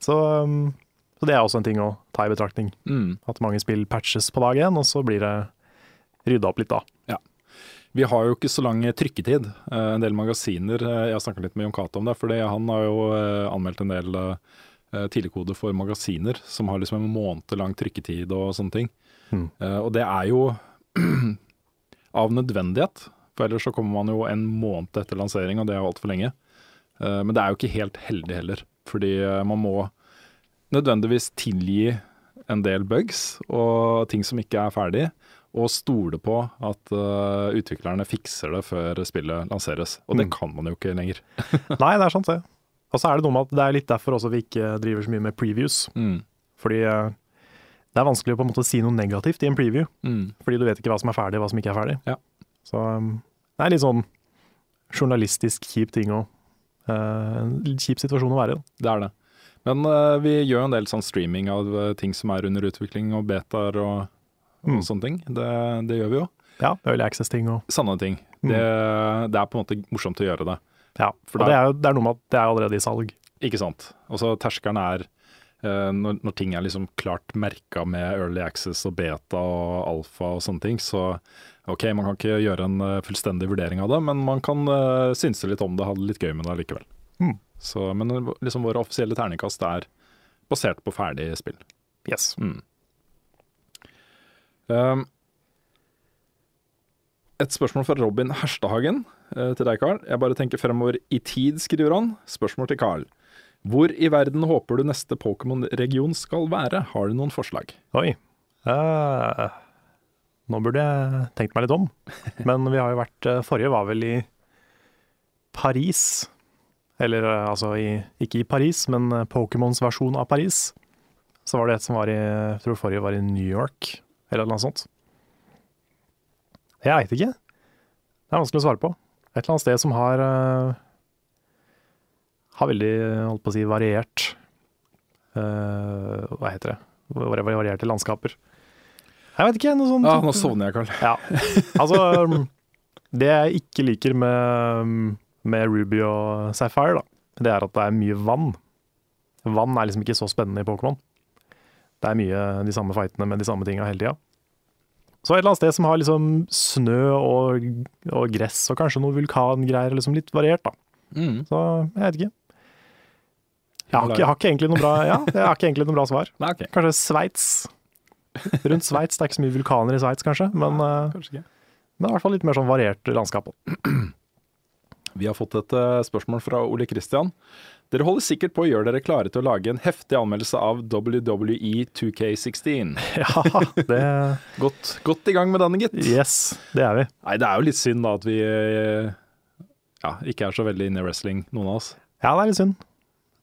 [SPEAKER 1] Så, um, så det er også en ting å ta i betraktning.
[SPEAKER 2] Mm.
[SPEAKER 1] At mange spill patches på dag én, og så blir det rydda opp litt da. (laughs)
[SPEAKER 2] Vi har jo ikke så lang trykketid. Eh, En del magasiner eh, Jeg har snakka litt med Jon Cato om det, for han har jo eh, anmeldt en del eh, eh, tidligkode for magasiner som har liksom en måned lang trykketid og sånne ting.
[SPEAKER 1] Mm.
[SPEAKER 2] Eh, Og det er jo (clears throat) av nødvendighet, for ellers så kommer man jo en måned etter lansering, og det er jo altfor lenge. Eh, Men det er jo ikke helt heldig heller, fordi eh, man må nødvendigvis tilgi en del bugs og ting som ikke er ferdig, og stole på at eh, utviklerne fikser det før spillet lanseres. Og det
[SPEAKER 1] Mm.
[SPEAKER 2] kan man jo ikke lenger.
[SPEAKER 1] Nei, det er sant det. Og så er det noe med at det er litt derfor også vi ikke driver så mye med previews.
[SPEAKER 2] Mm.
[SPEAKER 1] Fordi eh, det er vanskelig å på en måte si noe negativt i en preview,
[SPEAKER 2] Mm.
[SPEAKER 1] fordi du vet ikke hva som er ferdig, hva som ikke er ferdig.
[SPEAKER 2] Ja.
[SPEAKER 1] Så um, det er litt sånn journalistisk kjip ting å eh, En litt kjip situasjon å være i. da.
[SPEAKER 2] Det er det. Men eh, vi gjør jo en del sånn streaming av eh, ting som er under utvikling, og betaer og, og
[SPEAKER 1] Mm.
[SPEAKER 2] sånne ting. Det, det gjør vi jo.
[SPEAKER 1] Ja, Early access-ting og
[SPEAKER 2] Sanne ting.
[SPEAKER 1] Mm.
[SPEAKER 2] Det, det er på en måte morsomt å gjøre det.
[SPEAKER 1] Ja.
[SPEAKER 2] For
[SPEAKER 1] og
[SPEAKER 2] det
[SPEAKER 1] det
[SPEAKER 2] er-
[SPEAKER 1] er, jo- det er noe med at det er allerede i salg.
[SPEAKER 2] Ikke sant. Og så terskelen er eh, når, når ting er liksom klart merka med early access og beta og alfa og sånne ting, så OK, man kan ikke gjøre en eh, fullstendig vurdering av det, men man kan eh, synse litt om det, ha det litt gøy med det likevel.
[SPEAKER 1] Mm.
[SPEAKER 2] Så, men eh, liksom våre offisielle terningkast er basert på ferdig spill.
[SPEAKER 1] Yes.
[SPEAKER 2] Um, et spørsmål fra Robin Herstehagen eh, til deg, Carl. Jeg bare tenker fremover i tid, skriver han. Spørsmål til Carl. Hvor i verden håper du neste Pokémon-region skal være? Har du noen forslag?
[SPEAKER 1] Oi. Eh, nå burde jeg tenkt meg litt om. Men vi har jo vært eh, Forrige var vel i Paris. Eller eh, altså i, ikke i Paris, men eh, Pokémons versjon av Paris. Så var det et som var i Jeg tror forrige var i New York, eller noe sånt. Jeg veit ikke. Det er vanskelig å svare på. Et eller annet sted som har eh, Har veldig, eh, holdt på å si, variert eh, Hva heter det? Var- var- Varierte landskaper. Jeg vet ikke, noe sånt.
[SPEAKER 2] Ah, nå sovner jeg, Carl.
[SPEAKER 1] Ja. Altså, um, det jeg ikke liker med, um, med Ruby og Sapphire, da, det er at det er mye vann. Vann er liksom ikke så spennende i Pokémon. Det er mye de samme fightene med de samme tinga hele tida. Så et eller annet sted som har liksom snø og, og gress og kanskje noe vulkangreier, liksom litt variert, da. Så jeg vet ikke. Jeg har ikke, jeg har ikke egentlig noe bra, ja, jeg har ikke egentlig noe bra svar.
[SPEAKER 2] Nei, ok.
[SPEAKER 1] Kanskje Sveits. Rundt Sveits. Det er ikke så mye vulkaner i Sveits, kanskje, men eh,
[SPEAKER 2] Kanskje ikke.
[SPEAKER 1] men i hvert fall litt mer sånn variert landskap.
[SPEAKER 2] Vi har fått et eh, spørsmål fra Ole Kristian. Dere holder sikkert på å gjøre dere klare til å lage en heftig anmeldelse av E WWE 2K16.
[SPEAKER 1] (laughs) Ja, det
[SPEAKER 2] Godt, godt i gang med denne, gitt.
[SPEAKER 1] Yes, det er vi.
[SPEAKER 2] Nei, det er jo litt synd da at vi eh, ja, ikke er så veldig inne i wrestling, noen av oss.
[SPEAKER 1] Ja, det er litt synd.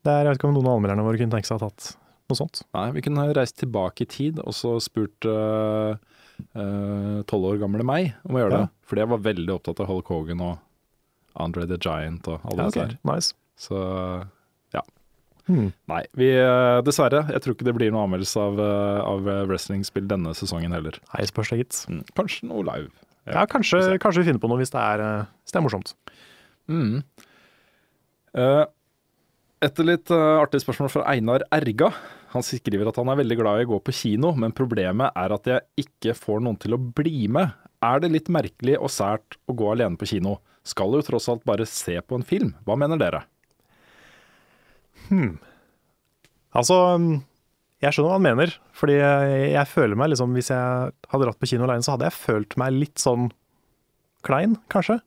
[SPEAKER 1] Det er, jeg vet ikke om noen av anmelderne våre kunne tenke seg å ha tatt Noe sånt.
[SPEAKER 2] Nei, vi kunne ha reist tilbake i tid og så spurt eh, tolv år gamle meg om å gjøre
[SPEAKER 1] Ja.
[SPEAKER 2] det. For jeg var veldig opptatt av Hulk Hogan og Andre the Giant og alle
[SPEAKER 1] Ja,
[SPEAKER 2] disse
[SPEAKER 1] ok.
[SPEAKER 2] her.
[SPEAKER 1] Nice.
[SPEAKER 2] Så ja.
[SPEAKER 1] Hmm.
[SPEAKER 2] Nei, vi, eh, dessverre. Jeg tror ikke det blir noen anmeldelse av, eh, av wrestlingspill denne sesongen heller.
[SPEAKER 1] Nei, spørs det, gitt.
[SPEAKER 2] Mm, Kanskje noe live.
[SPEAKER 1] Ja, kanskje, kanskje vi finner på noe hvis det er, eh, hvis det er morsomt.
[SPEAKER 2] Mm. Eh, etter litt eh, artig spørsmål fra Einar Erga. Han skriver at han er veldig glad i å gå på kino, men problemet er at jeg ikke får noen til å bli med. Er det litt merkelig og sært å gå alene på kino? Skal jo tross alt bare se på en film. Hva mener dere?
[SPEAKER 1] Altså, mm, jeg skjønner hva han mener, fordi jeg, jeg føler meg liksom Hvis jeg hadde dratt på kino alene, så hadde jeg følt meg litt sånn klein, kanskje.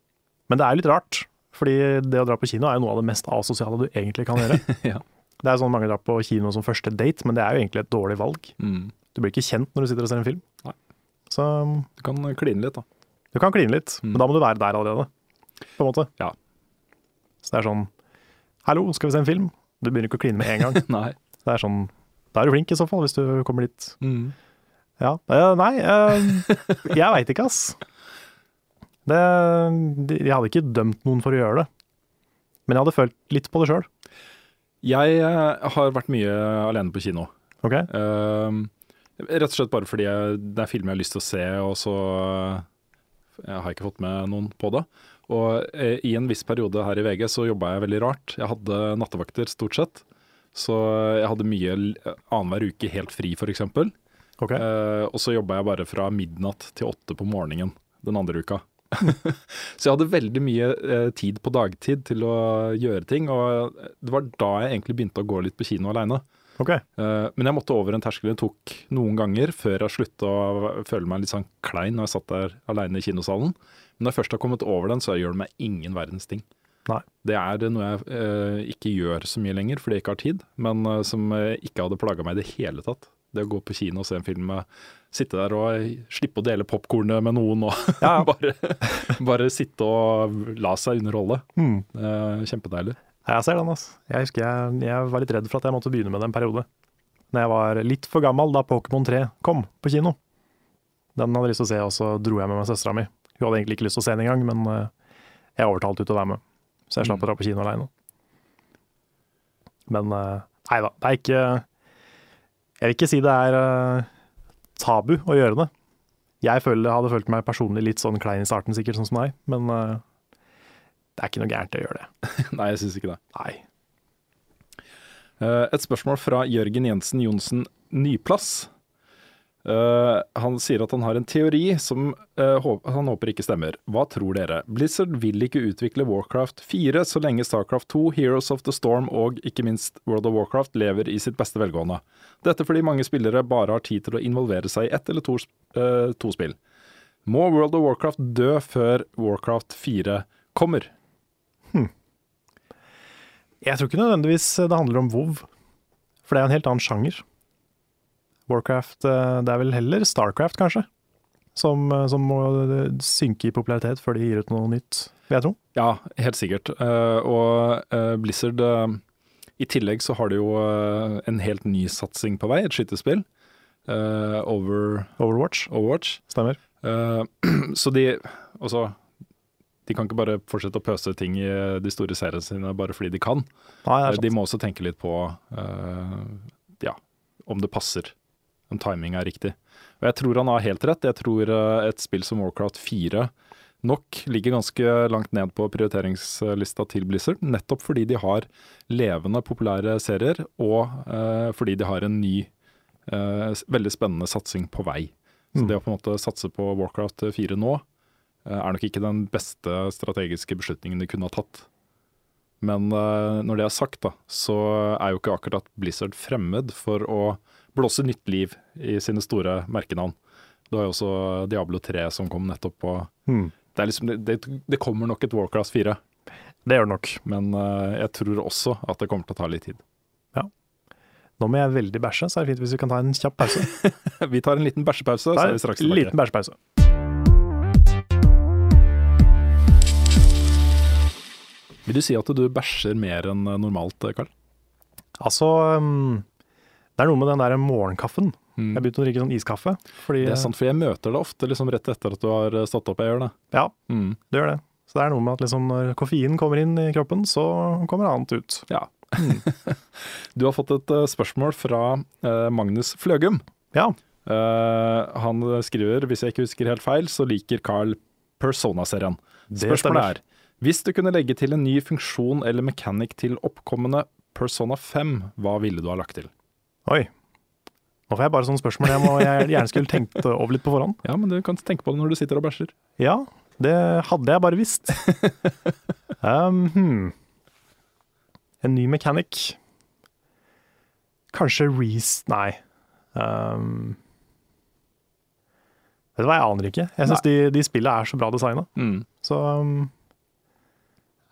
[SPEAKER 1] Men det er litt rart, fordi det å dra på kino er jo noe av det mest asosiale du egentlig kan gjøre.
[SPEAKER 2] (laughs) Ja.
[SPEAKER 1] Det er sånn mange drar på kino som første date, men det er jo egentlig et dårlig valg.
[SPEAKER 2] Mm.
[SPEAKER 1] Du blir ikke kjent når du sitter og ser en film.
[SPEAKER 2] Nei.
[SPEAKER 1] Så mm,
[SPEAKER 2] Du kan kline litt, da.
[SPEAKER 1] du kan kline litt,
[SPEAKER 2] Mm.
[SPEAKER 1] men da må du være der allerede, på en måte.
[SPEAKER 2] Ja.
[SPEAKER 1] Så det er sånn Hallo, skal vi se en film? Du begynner ikke å kline med en gang.
[SPEAKER 2] Nei.
[SPEAKER 1] Så det er sånn Da er du flink i så fall, hvis du kommer dit.
[SPEAKER 2] Mm.
[SPEAKER 1] Ja. eh, nei, eh, jeg veit ikke, ass. Det, de- jeg hadde ikke dømt noen for å gjøre det. Men jeg hadde følt litt på det sjøl.
[SPEAKER 2] Jeg eh, har vært mye alene på kino.
[SPEAKER 1] Ok?
[SPEAKER 2] Ehm, rett og slett bare fordi jeg, det er filmer jeg har lyst til å se, og så eh, jeg har ikke fått med noen på det. Og eh, i en viss periode her i VG så jobba jeg veldig rart. Jeg hadde nattevakter stort sett. Så jeg hadde mye l- annenhver uke helt fri, f.eks.
[SPEAKER 1] ok.
[SPEAKER 2] Eh, og så jobba jeg bare fra midnatt til åtte på morgenen den andre uka. (laughs) så jeg hadde veldig mye eh, tid på dagtid til å gjøre ting, og det var da jeg egentlig begynte å gå litt på kino aleine.
[SPEAKER 1] ok.
[SPEAKER 2] Eh, Men jeg måtte over en terskel det tok noen ganger før jeg slutta å føle meg litt sånn klein når jeg satt der aleine i kinosalen. Men når jeg først har kommet over den, så gjør det meg ingen verdens ting.
[SPEAKER 1] Nei.
[SPEAKER 2] Det er noe jeg eh, ikke gjør så mye lenger fordi jeg ikke har tid, men eh, som eh, ikke hadde plaga meg i det hele tatt. Det å gå på kino og se en film, eh, sitte der og eh, slippe å dele popkornet med noen og (laughs)
[SPEAKER 1] Ja, ja.
[SPEAKER 2] bare, bare sitte og la seg underholde.
[SPEAKER 1] Mm.
[SPEAKER 2] Eh, Kjempedeilig. (laughs)
[SPEAKER 1] Ja, Jeg ser den, ass. Jeg husker jeg, jeg var litt redd for at jeg måtte begynne med det en periode. Når jeg var litt for gammel da Pokémon 3 kom på kino. Den hadde jeg lyst til å se, og så dro jeg med meg søstera mi. Hun hadde egentlig ikke lyst til å se den engang, men eh, jeg overtalte henne til å være med. Så jeg slapp å dra på kino aleine. Men eh, nei da, det er ikke Jeg vil ikke si det er eh, tabu å gjøre det. Jeg føler, hadde følt meg personlig litt sånn klein i starten, sikkert, sånn som deg, men eh, det er ikke noe gærent i å gjøre det.
[SPEAKER 2] Nei, jeg syns ikke det.
[SPEAKER 1] Nei.
[SPEAKER 2] Eh, Et spørsmål fra Jørgen Jensen Johnsen Nyplass. Eh, han sier at han har en teori som eh, hå- han håper ikke stemmer. Hva tror dere? Blizzard vil ikke utvikle Warcraft 4 så lenge Starcraft 2, Heroes of the Storm og ikke minst World of Warcraft lever i sitt beste velgående. Dette fordi mange spillere bare har tid til å involvere seg i ett eller to, sp- eh, to spill. Må World of Warcraft dø før Warcraft 4 kommer?
[SPEAKER 1] Jeg tror ikke nødvendigvis det handler om WoW, for det er en helt annen sjanger. Warcraft, eh, det er vel heller Starcraft, kanskje, som, eh, som må eh, synke i popularitet før de gir ut noe nytt, vil jeg tro.
[SPEAKER 2] Ja, helt sikkert. Eh, og eh, Blizzard eh, I tillegg så har de jo eh, en helt ny satsing på vei, et skytespill. eh, over
[SPEAKER 1] Overwatch,
[SPEAKER 2] Overwatch.
[SPEAKER 1] stemmer.
[SPEAKER 2] Eh, (clears throat) så de Altså, de kan ikke bare fortsette å pøse ting i de store seriene sine bare fordi de kan.
[SPEAKER 1] Nei, det er
[SPEAKER 2] Eh, de
[SPEAKER 1] sant.
[SPEAKER 2] må også tenke litt på eh, ja, om det passer. Om timing er riktig. Og jeg tror han har helt rett. Jeg tror eh, et spill som Warcraft 4 nok ligger ganske langt ned på prioriteringslista til Blizzard, nettopp fordi de har levende, populære serier, og eh, fordi de har en ny, eh, s- veldig spennende satsing på vei. Så
[SPEAKER 1] Mm.
[SPEAKER 2] det å på en måte satse på Warcraft 4 nå, eh, er nok ikke den beste strategiske beslutningen de kunne ha tatt. Men eh, når det er sagt, da, så er jo ikke akkurat Blizzard fremmed for å blåse nytt liv i sine store merkenavn. Du har jo også Diablo 3 som kom nettopp, og
[SPEAKER 1] Hmm,
[SPEAKER 2] det, er liksom, det, det, det kommer nok et Warcraft 4.
[SPEAKER 1] det gjør det nok.
[SPEAKER 2] Men eh, jeg tror også at det kommer til å ta litt tid.
[SPEAKER 1] Nå må jeg veldig bæsje, så er det fint hvis vi kan ta en kjapp pause.
[SPEAKER 2] (laughs) (laughs) Vi tar en liten bæsjepause, så
[SPEAKER 1] Ta en
[SPEAKER 2] er vi straks
[SPEAKER 1] liten
[SPEAKER 2] tilbake.
[SPEAKER 1] bæsjepause.
[SPEAKER 2] Vil du si at du bæsjer mer enn eh, normalt, Karl?
[SPEAKER 1] Altså, um, det Det er noe med den der morgenkaffen. Jeg begynte å drikke sånn iskaffe. Fordi,
[SPEAKER 2] Mm. Det er sant, for jeg møter det ofte liksom rett etter at du har eh, stått opp. Jeg gjør det.
[SPEAKER 1] Ja,
[SPEAKER 2] Mm.
[SPEAKER 1] det gjør det. Så det er noe med at liksom når koffein kommer inn i kroppen, så kommer annet ut.
[SPEAKER 2] Ja. (laughs) du har fått et eh, spørsmål fra eh, Magnus Fløgum.
[SPEAKER 1] Ja,
[SPEAKER 2] Eh, han skriver, hvis jeg ikke husker helt feil, så liker Carl Persona-serien.
[SPEAKER 1] Det
[SPEAKER 2] Spørsmålet er, hvis du kunne legge til en ny funksjon eller mechanic til oppkommende Persona 5, hva ville du ha lagt til?
[SPEAKER 1] oi. Nå får jeg bare sånne spørsmål jeg, må, jeg gjerne skulle tenkt over litt på forhånd.
[SPEAKER 2] Ja, men du kan tenke på det når du sitter og bæsjer.
[SPEAKER 1] Ja, det hadde jeg bare visst. Um, hmm. En ny mechanic. Kanskje Reece Nei. Um, vet du hva, jeg aner ikke. Jeg syns de, de spillene er så bra designa.
[SPEAKER 2] Mm.
[SPEAKER 1] Så um,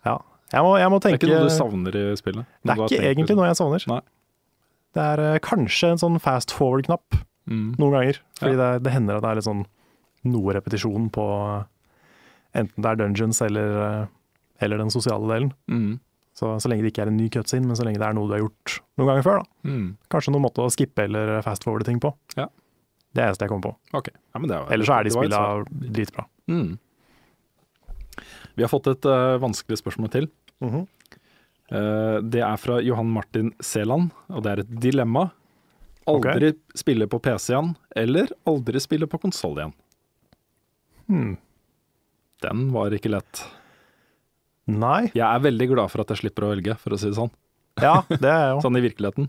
[SPEAKER 1] ja. Jeg må, jeg må
[SPEAKER 2] Det er
[SPEAKER 1] tenke
[SPEAKER 2] ikke noe du savner i spillet?
[SPEAKER 1] Det er ikke egentlig noe jeg savner.
[SPEAKER 2] Nei.
[SPEAKER 1] Det er eh, kanskje en sånn fast forward-knapp
[SPEAKER 2] Mm,
[SPEAKER 1] noen ganger. Fordi det, det hender at det er litt sånn noe repetisjon på eh, enten det er dungeons eller, eh, eller den sosiale delen.
[SPEAKER 2] Mm.
[SPEAKER 1] Så, så lenge det ikke er en ny cutscene, men så lenge det er noe du har gjort noen ganger før. da.
[SPEAKER 2] Mm.
[SPEAKER 1] Kanskje noen måte å skippe eller fast forwarde ting på.
[SPEAKER 2] Ja.
[SPEAKER 1] Det er det eneste jeg kommer på.
[SPEAKER 2] Ok. Ja, men det var-
[SPEAKER 1] Ellers så er de
[SPEAKER 2] det var et
[SPEAKER 1] spilla
[SPEAKER 2] svar.
[SPEAKER 1] dritbra.
[SPEAKER 2] Mm. Vi har fått et eh, vanskelig spørsmål til.
[SPEAKER 1] Mhm.
[SPEAKER 2] Eh, det er fra Johan Martin Seland, og det er et dilemma. Aldri spille på PC igjen, eller aldri spille på konsoll igjen. Hmm. Den var ikke lett.
[SPEAKER 1] Nei.
[SPEAKER 2] Jeg er veldig glad for at jeg slipper å velge, for å si det sånn.
[SPEAKER 1] Ja, det er jeg jo.
[SPEAKER 2] (laughs) Sånn i virkeligheten.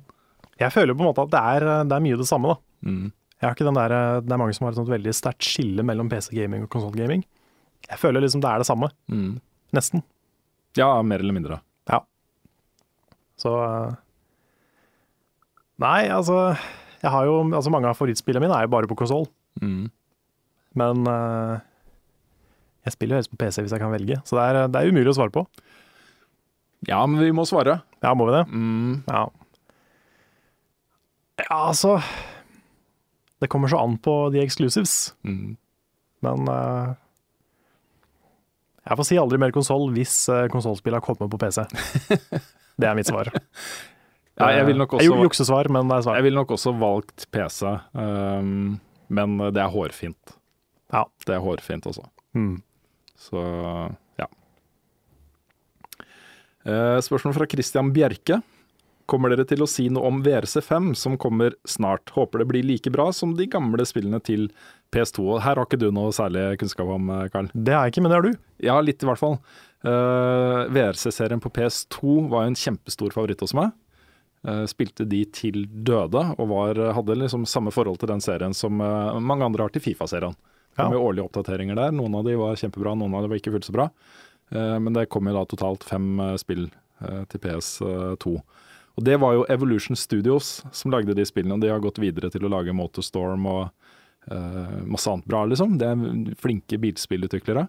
[SPEAKER 1] Jeg føler på en måte at det er, det er mye det samme, da.
[SPEAKER 2] Mm.
[SPEAKER 1] Jeg har ikke den der, det er mange som har et sånt veldig sterkt skille mellom PC-gaming og konsollgaming. Jeg føler liksom det er det samme,
[SPEAKER 2] Mm.
[SPEAKER 1] nesten.
[SPEAKER 2] Ja, mer eller mindre.
[SPEAKER 1] Så eh, Nei, altså, jeg har jo, altså Mange av favorittspillene mine er jo bare på konsoll,
[SPEAKER 2] Mm.
[SPEAKER 1] men eh, jeg spiller jo helst på PC hvis jeg kan velge, så det er, det er umulig å svare på.
[SPEAKER 2] Ja, men vi må svare.
[SPEAKER 1] Ja, må vi det?
[SPEAKER 2] Mm.
[SPEAKER 1] Ja. ja, altså Det kommer så an på de exclusives,
[SPEAKER 2] Mm.
[SPEAKER 1] men eh, Jeg får si aldri mer konsoll hvis uh, konsollspillene kommer på
[SPEAKER 2] (laughs)
[SPEAKER 1] PC. Det er mitt svar.
[SPEAKER 2] Ja, jeg vil nok også
[SPEAKER 1] Jeg gjorde juksesvar, men det er
[SPEAKER 2] Jeg
[SPEAKER 1] svar.
[SPEAKER 2] ville nok også valgt PC, ehm, men det er hårfint.
[SPEAKER 1] Ja.
[SPEAKER 2] Det er hårfint også.
[SPEAKER 1] Mm.
[SPEAKER 2] Så ja. Eh, Spørsmål fra Christian Bjerke. Kommer dere til å si noe om VRC5 som kommer snart? Håper det blir like bra som de gamle spillene til PS2. Og Her har ikke du noe særlig kunnskap om, eh, Karl.
[SPEAKER 1] Det er jeg ikke, men det er du.
[SPEAKER 2] Ja, litt i hvert fall. Eh, VRC-serien på PS2 var jo en kjempestor favoritt hos meg. Eh, spilte de til døde, og var, hadde liksom samme forhold til den serien som eh, mange andre har til Fifa-serien. Det kom
[SPEAKER 1] Ja.
[SPEAKER 2] jo årlige oppdateringer der. Noen av de var kjempebra, noen av de var ikke fullt så bra. Eh, men det kom jo da totalt fem eh, spill eh, til PS2. Og det var jo Evolution Studios som lagde de spillene, og de har gått videre til å lage Motorstorm og eh, masse annet bra, liksom. Det er flinke bilspillutviklere.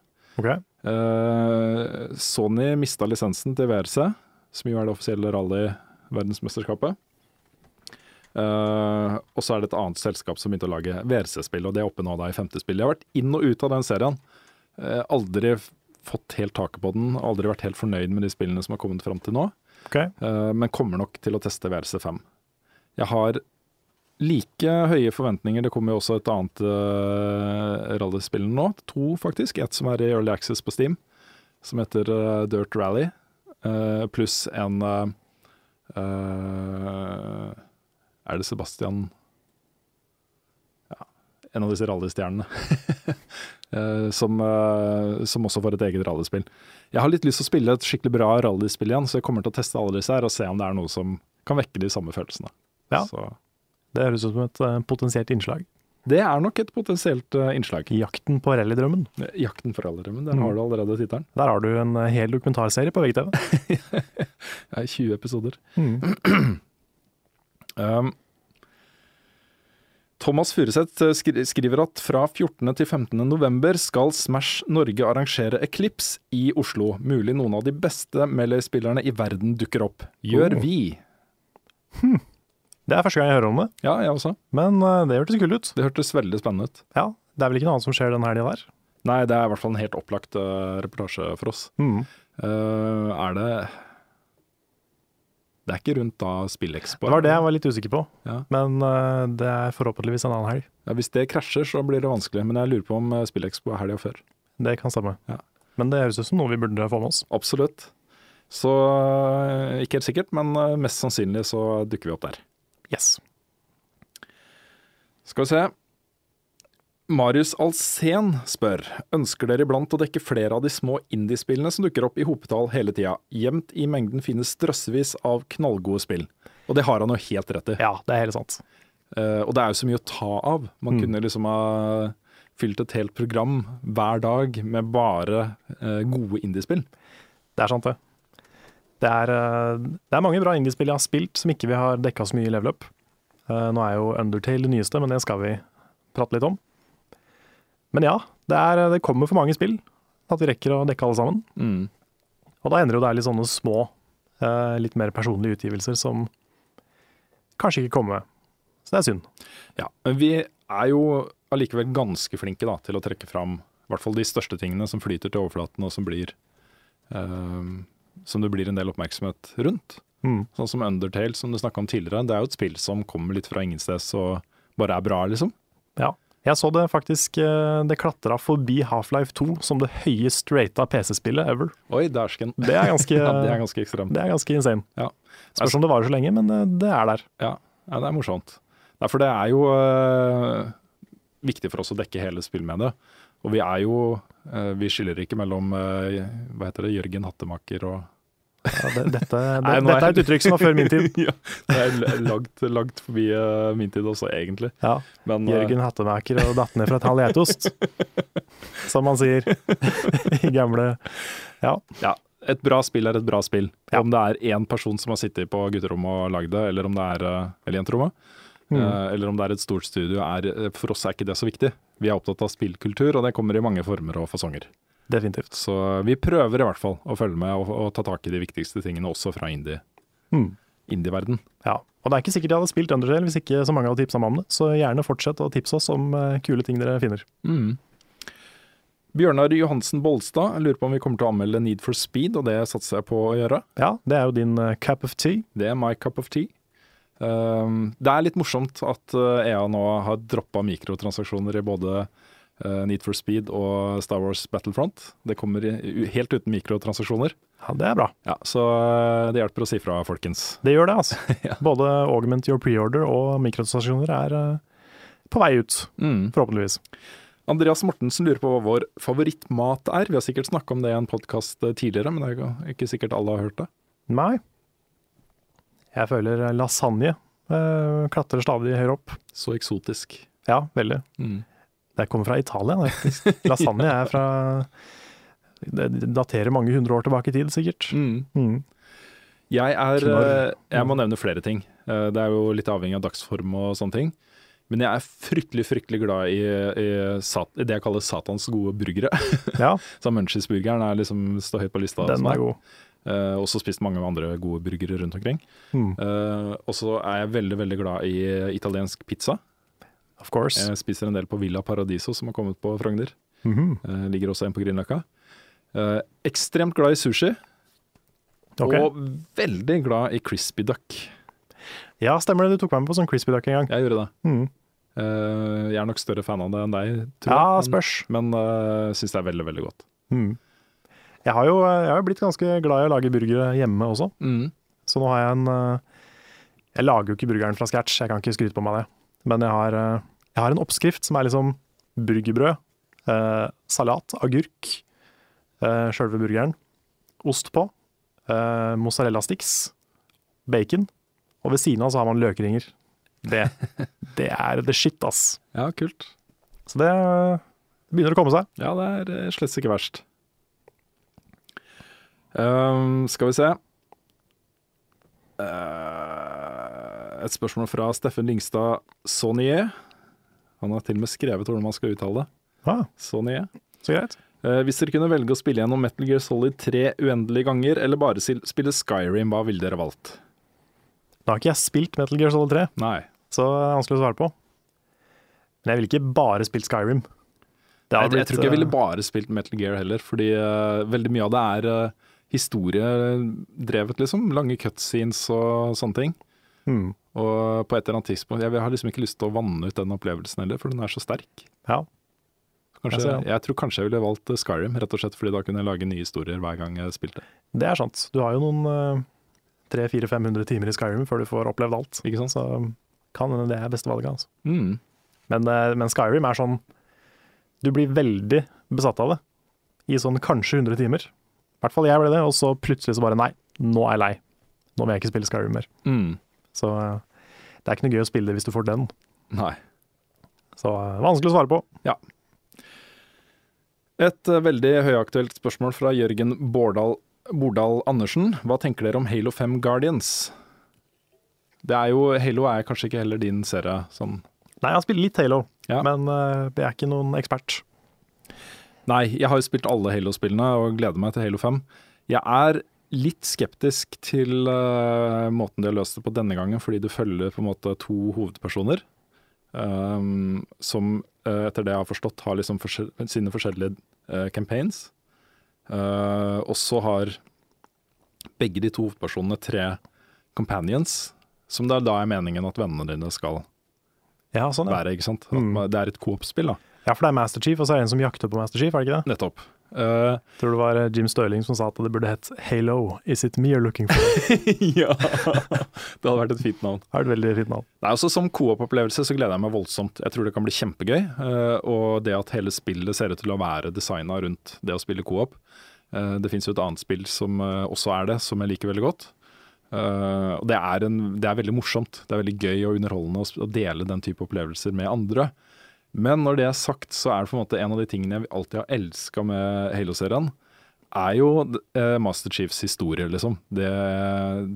[SPEAKER 2] Eh, Sony mista lisensen til VRC, som jo er det offisielle rally-verdensmesterskapet. Eh, og så er det et annet selskap som begynte å lage VRC-spill, og det er oppe nå da i femte spill. Jeg har vært inn og ut av den serien. Eh, aldri f- fått helt taket på den, aldri vært helt fornøyd med de spillene som har kommet fram til nå.
[SPEAKER 1] Ok.
[SPEAKER 2] Eh, men kommer nok til å teste VRC5. Jeg har like høye forventninger. Det kommer jo også et annet uh, rallyspill nå, to faktisk. Et som er i Early Access på Steam, som heter eh, Dirt Rally. eh, Pluss en eh, eh, Er det Sebastian Ja, en av disse rallystjernene. (laughs) Eh, som, eh, som også får et eget rallyspill. Jeg har litt lyst til å spille et skikkelig bra rallyspill igjen, så jeg kommer til å teste alle disse her og se om det er noe som kan vekke de samme følelsene.
[SPEAKER 1] Ja.
[SPEAKER 2] Så
[SPEAKER 1] Det høres ut som et eh, potensielt innslag.
[SPEAKER 2] det er nok et potensielt eh, innslag.
[SPEAKER 1] 'Jakten på rallydrømmen'.
[SPEAKER 2] 'Jakten for alderen', men den
[SPEAKER 1] Mm.
[SPEAKER 2] har du allerede tittelen.
[SPEAKER 1] Der har du en eh, hel dokumentarserie på VGTV.
[SPEAKER 2] Det er 20 episoder.
[SPEAKER 1] Mm.
[SPEAKER 2] (clears throat) Um, Thomas Furuseth eh, skri- skriver at fra 14. til 15. november skal Smash Norge arrangere Eclipse i Oslo. Mulig noen av de beste Melee-spillerne i verden dukker opp. Gjør
[SPEAKER 1] Oh.
[SPEAKER 2] vi?
[SPEAKER 1] Det er første gang jeg hører om det,
[SPEAKER 2] Ja, jeg også.
[SPEAKER 1] men eh, det hørtes kult ut.
[SPEAKER 2] Det hørtes veldig spennende ut.
[SPEAKER 1] Ja, Det er vel ikke noe annet som skjer den helga der?
[SPEAKER 2] Nei, det er i hvert fall en helt opplagt Mm. eh, reportasje for oss.
[SPEAKER 1] Mm.
[SPEAKER 2] Eh, er det Det er ikke rundt da SpillExpo.
[SPEAKER 1] Det var det jeg var litt usikker på,
[SPEAKER 2] Ja.
[SPEAKER 1] men eh, det er forhåpentligvis en annen helg.
[SPEAKER 2] Ja, hvis det krasjer, så blir det vanskelig. Men jeg lurer på om eh, SpillExpo er helga før.
[SPEAKER 1] Det kan stemme.
[SPEAKER 2] Ja.
[SPEAKER 1] Men det høres ut som noe vi burde få med oss.
[SPEAKER 2] Absolutt. Så eh, ikke helt sikkert, men eh, mest sannsynlig så dukker vi opp der.
[SPEAKER 1] Yes.
[SPEAKER 2] Skal vi se. Marius Alsen spør ønsker dere iblant å dekke flere av de små indiespillene som dukker opp i hopetall hele tida. Gjemt i mengden finnes drøssevis av knallgode spill. Og det har han jo helt rett i.
[SPEAKER 1] Ja, det er helt sant.
[SPEAKER 2] Eh, og det er jo så mye å ta av. Man kunne liksom ha fylt et helt program hver dag med bare eh, gode indiespill.
[SPEAKER 1] Det er sant, det. Det er, eh, det er mange bra indiespill jeg har spilt som ikke vi har dekka så mye i level up. Eh, Nå er jo Undertale det nyeste, men det skal vi prate litt om. Men ja, det, er, det kommer for mange spill at vi rekker å dekke alle sammen.
[SPEAKER 2] Mm.
[SPEAKER 1] Og da ender jo det er litt sånne små, eh, litt mer personlige utgivelser som kanskje ikke kommer med. Så det er synd.
[SPEAKER 2] Ja, men vi er jo allikevel ganske flinke da, til å trekke fram i hvert fall de største tingene som flyter til overflaten og som, blir, eh, som det blir en del oppmerksomhet rundt.
[SPEAKER 1] Mm.
[SPEAKER 2] Sånn som Undertale, som du snakka om tidligere. Det er jo et spill som kommer litt fra ingensteds og bare er bra, liksom.
[SPEAKER 1] Ja. Jeg så det faktisk eh, Det klatra forbi Half-Life 2 som det høyest rata PC-spillet ever.
[SPEAKER 2] Oi, dæsken.
[SPEAKER 1] Det er ganske,
[SPEAKER 2] (laughs) ja, det er ganske ekstremt.
[SPEAKER 1] det er ganske insane.
[SPEAKER 2] Ja.
[SPEAKER 1] Spørs om det varer så lenge, men eh, det er der.
[SPEAKER 2] Ja, ja det er morsomt. Nei, for det er jo eh, viktig for oss å dekke hele spill med det. Og vi er jo eh, Vi skiller ikke mellom eh, hva heter det, Jørgen Hattemaker og
[SPEAKER 1] Ja, det,
[SPEAKER 2] (laughs)
[SPEAKER 1] dette, det,
[SPEAKER 2] Nei, nå
[SPEAKER 1] dette er et
[SPEAKER 2] jeg-
[SPEAKER 1] uttrykk som var før min tid.
[SPEAKER 2] (laughs) ja, det er l- langt, langt forbi eh, min tid også, egentlig.
[SPEAKER 1] Ja.
[SPEAKER 2] Men, eh,
[SPEAKER 1] Jørgen Hattemaker og datt ned fra et halv
[SPEAKER 2] (laughs)
[SPEAKER 1] geitost, som man sier (laughs) i gamle Ja.
[SPEAKER 2] ja, et bra spill er et bra spill.
[SPEAKER 1] Ja.
[SPEAKER 2] Om det er én person som har sittet på gutterommet og lagd det, eller om det er eh, eller jenterommet,
[SPEAKER 1] Mm.
[SPEAKER 2] eh, eller om det er et stort studio, er, eh, for oss er ikke det så viktig. Vi er opptatt av spillkultur, og det kommer i mange former og fasonger.
[SPEAKER 1] Definitivt.
[SPEAKER 2] Så vi prøver i hvert fall å følge med og, og ta tak i de viktigste tingene også fra indie.
[SPEAKER 1] Mm.
[SPEAKER 2] Indie-verden.
[SPEAKER 1] Ja. Og det er ikke sikkert jeg hadde spilt Undertale hvis ikke så mange hadde tipsa meg om det, så gjerne fortsett å tipse oss om eh, kule ting dere finner.
[SPEAKER 2] Bjørnar Johansen Bolstad lurer på om vi kommer til å anmelde Need for Speed, og det satser jeg på å gjøre.
[SPEAKER 1] Ja, det er jo din eh, cup of tea.
[SPEAKER 2] Det er my cup of tea. Um, det er litt morsomt at uh, EA nå har droppa mikrotransaksjoner i både uh, Need for Speed og Star Wars Battlefront. Det kommer i, u- helt uten mikrotransaksjoner.
[SPEAKER 1] Ja, det er bra.
[SPEAKER 2] Ja, så uh, det hjelper å si fra, folkens.
[SPEAKER 1] Det gjør det,
[SPEAKER 2] (laughs)
[SPEAKER 1] altså. Både augment your pre-order og mikrotransaksjoner er eh, på vei ut,
[SPEAKER 2] Mm.
[SPEAKER 1] forhåpentligvis.
[SPEAKER 2] Andreas Mortensen lurer på hva vår favorittmat er. Vi har sikkert snakka om det i en podkast tidligere, men det er jo ikke sikkert alle har hørt det.
[SPEAKER 1] Nei. Jeg føler lasagne eh, klatrer stadig høyere opp.
[SPEAKER 2] Så eksotisk.
[SPEAKER 1] Ja, veldig.
[SPEAKER 2] Mm.
[SPEAKER 1] Det kommer fra Italia, det,
[SPEAKER 2] (laughs)
[SPEAKER 1] faktisk. Lasagne er fra Det daterer mange hundre år tilbake i tid, sikkert. Mm.
[SPEAKER 2] Jeg er
[SPEAKER 1] Knarr.
[SPEAKER 2] eh, Jeg
[SPEAKER 1] Mm.
[SPEAKER 2] må nevne flere ting. Eh, Det er jo litt avhengig av dagsform og sånne ting. Men jeg er fryktelig fryktelig glad i, i, sat, i det jeg kaller Satans gode burgere. (laughs)
[SPEAKER 1] Ja,
[SPEAKER 2] Så Munchies-burgeren er liksom, står høyt på lista.
[SPEAKER 1] den er god.
[SPEAKER 2] Eh, også spist mange andre gode burgere rundt omkring.
[SPEAKER 1] Mm.
[SPEAKER 2] Eh, og så er jeg veldig veldig glad i eh, italiensk pizza.
[SPEAKER 1] Of course.
[SPEAKER 2] Jeg spiser en del på Villa Paradiso, som har kommet på Frogner.
[SPEAKER 1] Mhm.
[SPEAKER 2] Eh, ligger også en på Grünerløkka. Eh, ekstremt glad i sushi,
[SPEAKER 1] Ok.
[SPEAKER 2] og veldig glad i crispy duck.
[SPEAKER 1] Ja, stemmer det. Du tok meg med på sånn crispy duck en gang.
[SPEAKER 2] Jeg gjorde det.
[SPEAKER 1] Mm.
[SPEAKER 2] Eh, jeg er nok større fan av det enn deg, tror
[SPEAKER 1] Ja,
[SPEAKER 2] jeg.
[SPEAKER 1] spørs.
[SPEAKER 2] Men, men eh, syns det er veldig, veldig godt.
[SPEAKER 1] Mm. Jeg har jo eh, jeg har jo blitt ganske glad i å lage burgere hjemme også, så nå har jeg en eh, Jeg lager jo ikke burgeren fra scratch, jeg kan ikke skryte på meg det. Men jeg har, eh, jeg har en oppskrift som er liksom burgerbrød, eh, salat, agurk, eh, sjølve burgeren, ost på, eh, mozzarella sticks, bacon, og ved siden av så har man løkringer. (laughs) Det, det er the shit, ass.
[SPEAKER 2] Ja, kult.
[SPEAKER 1] Så det eh, begynner å komme seg.
[SPEAKER 2] Ja, det er eh, slett ikke verst. Ehm, skal vi se Eh, Et spørsmål fra Steffen Lyngstad Saunier. Han har til og med skrevet hvordan man skal uttale det.
[SPEAKER 1] Ja,
[SPEAKER 2] Saunier.
[SPEAKER 1] Ah, så greit.
[SPEAKER 2] Eh, hvis dere kunne velge å spille gjennom Metal Gear Solid 3 uendelige ganger, eller bare sil- spille Skyrim, hva ville dere valgt?
[SPEAKER 1] Da har ikke jeg spilt Metal Gear Solid 3,
[SPEAKER 2] Nei.
[SPEAKER 1] så det er vanskelig å svare på. Men jeg ville ikke bare spilt Skyrim. Det
[SPEAKER 2] Jeg,
[SPEAKER 1] hadde
[SPEAKER 2] jeg,
[SPEAKER 1] blitt,
[SPEAKER 2] tror ikke jeg
[SPEAKER 1] eh,
[SPEAKER 2] ville bare spilt Metal Gear heller, fordi eh, veldig mye av det er eh, historiedrevet, liksom. Lange cutscenes og sånne ting.
[SPEAKER 1] Mm.
[SPEAKER 2] Og på et eller annet tidspunkt Jeg har liksom ikke lyst til å vanne ut den opplevelsen heller, for den er så sterk.
[SPEAKER 1] Ja. Jeg
[SPEAKER 2] Kanskje,
[SPEAKER 1] ser
[SPEAKER 2] jeg,
[SPEAKER 1] den.
[SPEAKER 2] tror kanskje jeg ville valgt eh, Skyrim, rett og slett fordi da kunne jeg lage nye historier hver gang jeg spilte.
[SPEAKER 1] Det er sant. Du har jo noen eh, 300-400-500 timer i Skyrim før du får opplevd alt.
[SPEAKER 2] Ikke sant?
[SPEAKER 1] Så kan hende det er beste valget. Altså.
[SPEAKER 2] Mm.
[SPEAKER 1] Men, eh, men Skyrim er sånn Du blir veldig besatt av det i sånn kanskje 100 timer. I hvert fall jeg ble det, og så plutselig så bare nei, nå er jeg lei. Nå vil jeg ikke spille Skyrim mer.
[SPEAKER 2] Mm.
[SPEAKER 1] Så eh, det er ikke noe gøy å spille det hvis du får den.
[SPEAKER 2] Nei.
[SPEAKER 1] Så eh, vanskelig å svare på.
[SPEAKER 2] Et eh, veldig høyaktuelt spørsmål fra Jørgen Bårdal, Bordal Andersen. Hva tenker dere om Halo 5 Guardians? Det er jo, Halo er kanskje ikke heller din serie sånn
[SPEAKER 1] Nei, jeg har spilt litt Halo,
[SPEAKER 2] Ja.
[SPEAKER 1] men eh, jeg er ikke noen ekspert.
[SPEAKER 2] Nei, jeg har jo spilt alle Halo-spillene og gleder meg til Halo 5. Jeg er litt skeptisk til eh, måten de har løst det på denne gangen, fordi det følger på en måte to hovedpersoner. ehm, som eh, etter det jeg har forstått, har liksom forskjell sine forskjellige eh, campaigns. Eh, og så har begge de to hovedpersonene tre companions, som det er da er meningen at vennene dine skal
[SPEAKER 1] Ja, sånn, ja.
[SPEAKER 2] være. ikke sant?
[SPEAKER 1] Mm.
[SPEAKER 2] At det er et coop-spill, da.
[SPEAKER 1] ja, for det er Master Chief, og så er det en som jakter på Master Chief, er det ikke det?
[SPEAKER 2] Nettopp. Eh,
[SPEAKER 1] Tror det var eh, Jim Stirling som sa at det burde hett Halo, is it me you're looking for? (laughs)
[SPEAKER 2] (laughs) ja, det hadde vært et fint navn.
[SPEAKER 1] Det er et veldig fint navn.
[SPEAKER 2] Nei, altså Som coop-opplevelse så gleder jeg meg voldsomt. Jeg tror det kan bli kjempegøy. eh, Og det at hele spillet ser ut til å være designa rundt det å spille coop. Eh, Det fins jo et annet spill som eh, også er det, som jeg liker veldig godt. Eh, Og det er, en, det er veldig morsomt. Det er veldig gøy og underholdende å sp- å dele den type opplevelser med andre. Men når det er sagt, så er det på en måte en av de tingene jeg alltid har elska med Halo-serien, er jo eh, Master Chiefs historie, liksom. Det,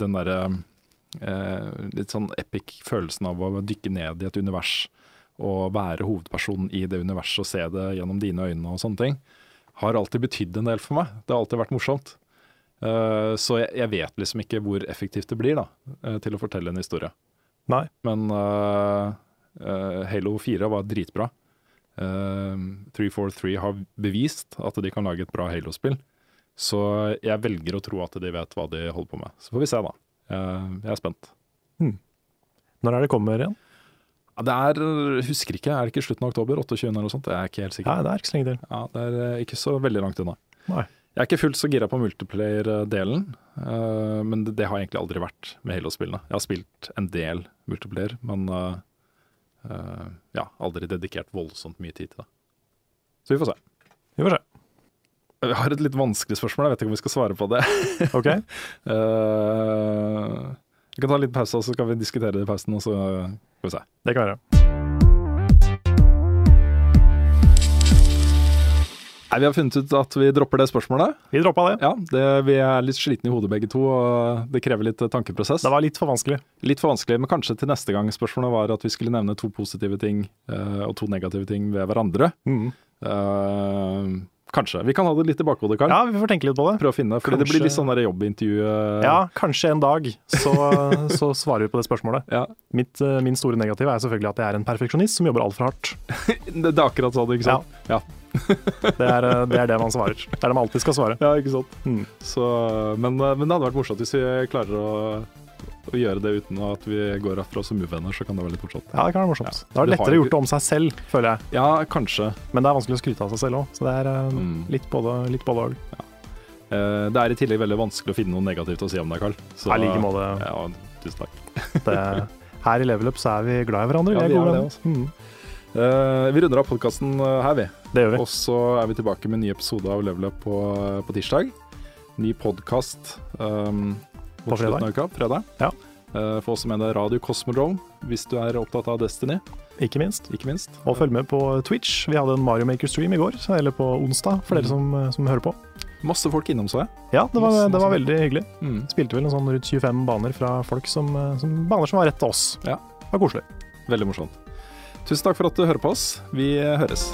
[SPEAKER 2] den derre eh, litt sånn epic følelsen av å dykke ned i et univers og være hovedpersonen i det universet og se det gjennom dine øyne og sånne ting, har alltid betydd en del for meg. Det har alltid vært morsomt. Eh, så jeg, jeg vet liksom ikke hvor effektivt det blir da, eh, til å fortelle en historie.
[SPEAKER 1] Nei.
[SPEAKER 2] Men eh, eh, Halo 4 var dritbra. Eh, 343 har bevist at de kan lage et bra Halo-spill. Så jeg velger å tro at de vet hva de holder på med. Så får vi se, da. Eh, jeg er spent.
[SPEAKER 1] Når er det kommer igjen?
[SPEAKER 2] Ja, Det er, husker ikke, er det ikke slutten av oktober? 28. eller noe sånt? Jeg er ikke helt sikker.
[SPEAKER 1] Nei, det er ikke så lenge til.
[SPEAKER 2] Ja, det er eh, ikke så veldig langt unna.
[SPEAKER 1] Nei.
[SPEAKER 2] Jeg er ikke fullt så gira på multiplayer-delen, eh, men det, det har egentlig aldri vært med Halo-spillene. Jeg har spilt en del multiplayer, men eh, eh, ja, aldri dedikert voldsomt mye tid til det. Så vi får se.
[SPEAKER 1] Vi får se.
[SPEAKER 2] Jeg har et litt vanskelig spørsmål, jeg vet ikke om vi skal svare på det. (laughs)
[SPEAKER 1] OK?
[SPEAKER 2] Eh, vi kan ta en liten pause, og så skal vi diskutere det i pausen, og så eh, skal vi se.
[SPEAKER 1] Det kan være.
[SPEAKER 2] Nei, Vi har funnet ut at vi dropper det spørsmålet.
[SPEAKER 1] Vi droppa det.
[SPEAKER 2] Ja, det, vi er litt slitne i hodet begge to, og det krever litt eh, tankeprosess.
[SPEAKER 1] Det var litt for vanskelig.
[SPEAKER 2] litt for vanskelig, men kanskje til neste gang spørsmålet var at vi skulle nevne to positive ting eh, og to negative ting ved hverandre.
[SPEAKER 1] Mm.
[SPEAKER 2] Eh, kanskje. Vi kan ha det litt i bakhodet, Karl.
[SPEAKER 1] Ja, vi får tenke litt på det.
[SPEAKER 2] Prøve å finne, for det
[SPEAKER 1] Kanskje-
[SPEAKER 2] blir litt sånn der jobbintervju. eh,
[SPEAKER 1] Ja, kanskje en dag (laughs) så, så svarer vi på det spørsmålet.
[SPEAKER 2] ja.
[SPEAKER 1] Mitt, eh, min store negativ er selvfølgelig at jeg er en perfeksjonist som jobber altfor hardt.
[SPEAKER 2] Det det er akkurat sånn, ikke sant? Ja.
[SPEAKER 1] Det er, eh, det er det man svarer. Det er det man alltid skal svare.
[SPEAKER 2] Ja, ikke sant.
[SPEAKER 1] Mm.
[SPEAKER 2] Så, men, eh, men det hadde vært morsomt hvis vi klarer å, å gjøre det uten at vi går herfra som uvenner, så kan det være litt morsomt.
[SPEAKER 1] Ja, det kan være morsomt.
[SPEAKER 2] Ja.
[SPEAKER 1] Da er
[SPEAKER 2] Du
[SPEAKER 1] det
[SPEAKER 2] har
[SPEAKER 1] lettere
[SPEAKER 2] jo
[SPEAKER 1] gjort det om seg selv, føler jeg.
[SPEAKER 2] Ja, kanskje.
[SPEAKER 1] Men det er vanskelig å skryte av seg selv òg, så det er eh,
[SPEAKER 2] Mm.
[SPEAKER 1] litt både litt både og.
[SPEAKER 2] Eh, Det er i tillegg veldig vanskelig å finne noe negativt å si om deg, Karl. Så- eh,
[SPEAKER 1] I like måte.
[SPEAKER 2] Ja, tusen takk.
[SPEAKER 1] det- Her i Level Up så er vi glad i hverandre.
[SPEAKER 2] Ja,
[SPEAKER 1] vi er
[SPEAKER 2] vi er
[SPEAKER 1] gode
[SPEAKER 2] det,
[SPEAKER 1] venner. Mm.
[SPEAKER 2] altså. Eh, vi runder av podkasten her, vi.
[SPEAKER 1] Det gjør vi.
[SPEAKER 2] Og så er vi tilbake med en ny episode av Level Up på, eh, på tirsdag. Ny ehm, podkast
[SPEAKER 1] På fredag.
[SPEAKER 2] Uka, fredag.
[SPEAKER 1] Ja.
[SPEAKER 2] Eh, for oss som mener Radio Cosmodrome, hvis du er opptatt av Destiny,
[SPEAKER 1] Ikke minst.
[SPEAKER 2] ikke minst.
[SPEAKER 1] Og følg med på Twitch. Vi hadde en Mario Maker-stream i går, eller på onsdag, for
[SPEAKER 2] Mm.
[SPEAKER 1] dere som, eh, som hører på.
[SPEAKER 2] Eh, Masse folk innom, så jeg. Mm,
[SPEAKER 1] Ja, det var,
[SPEAKER 2] Masse,
[SPEAKER 1] det var
[SPEAKER 2] masse.
[SPEAKER 1] veldig hyggelig. Spilte vel en sånn rundt 25 baner fra folk som, eh, som baner som var rett til oss.
[SPEAKER 2] Ja.
[SPEAKER 1] Det var koselig.
[SPEAKER 2] Veldig morsomt. Tusen takk for at du hører på oss. Vi høres.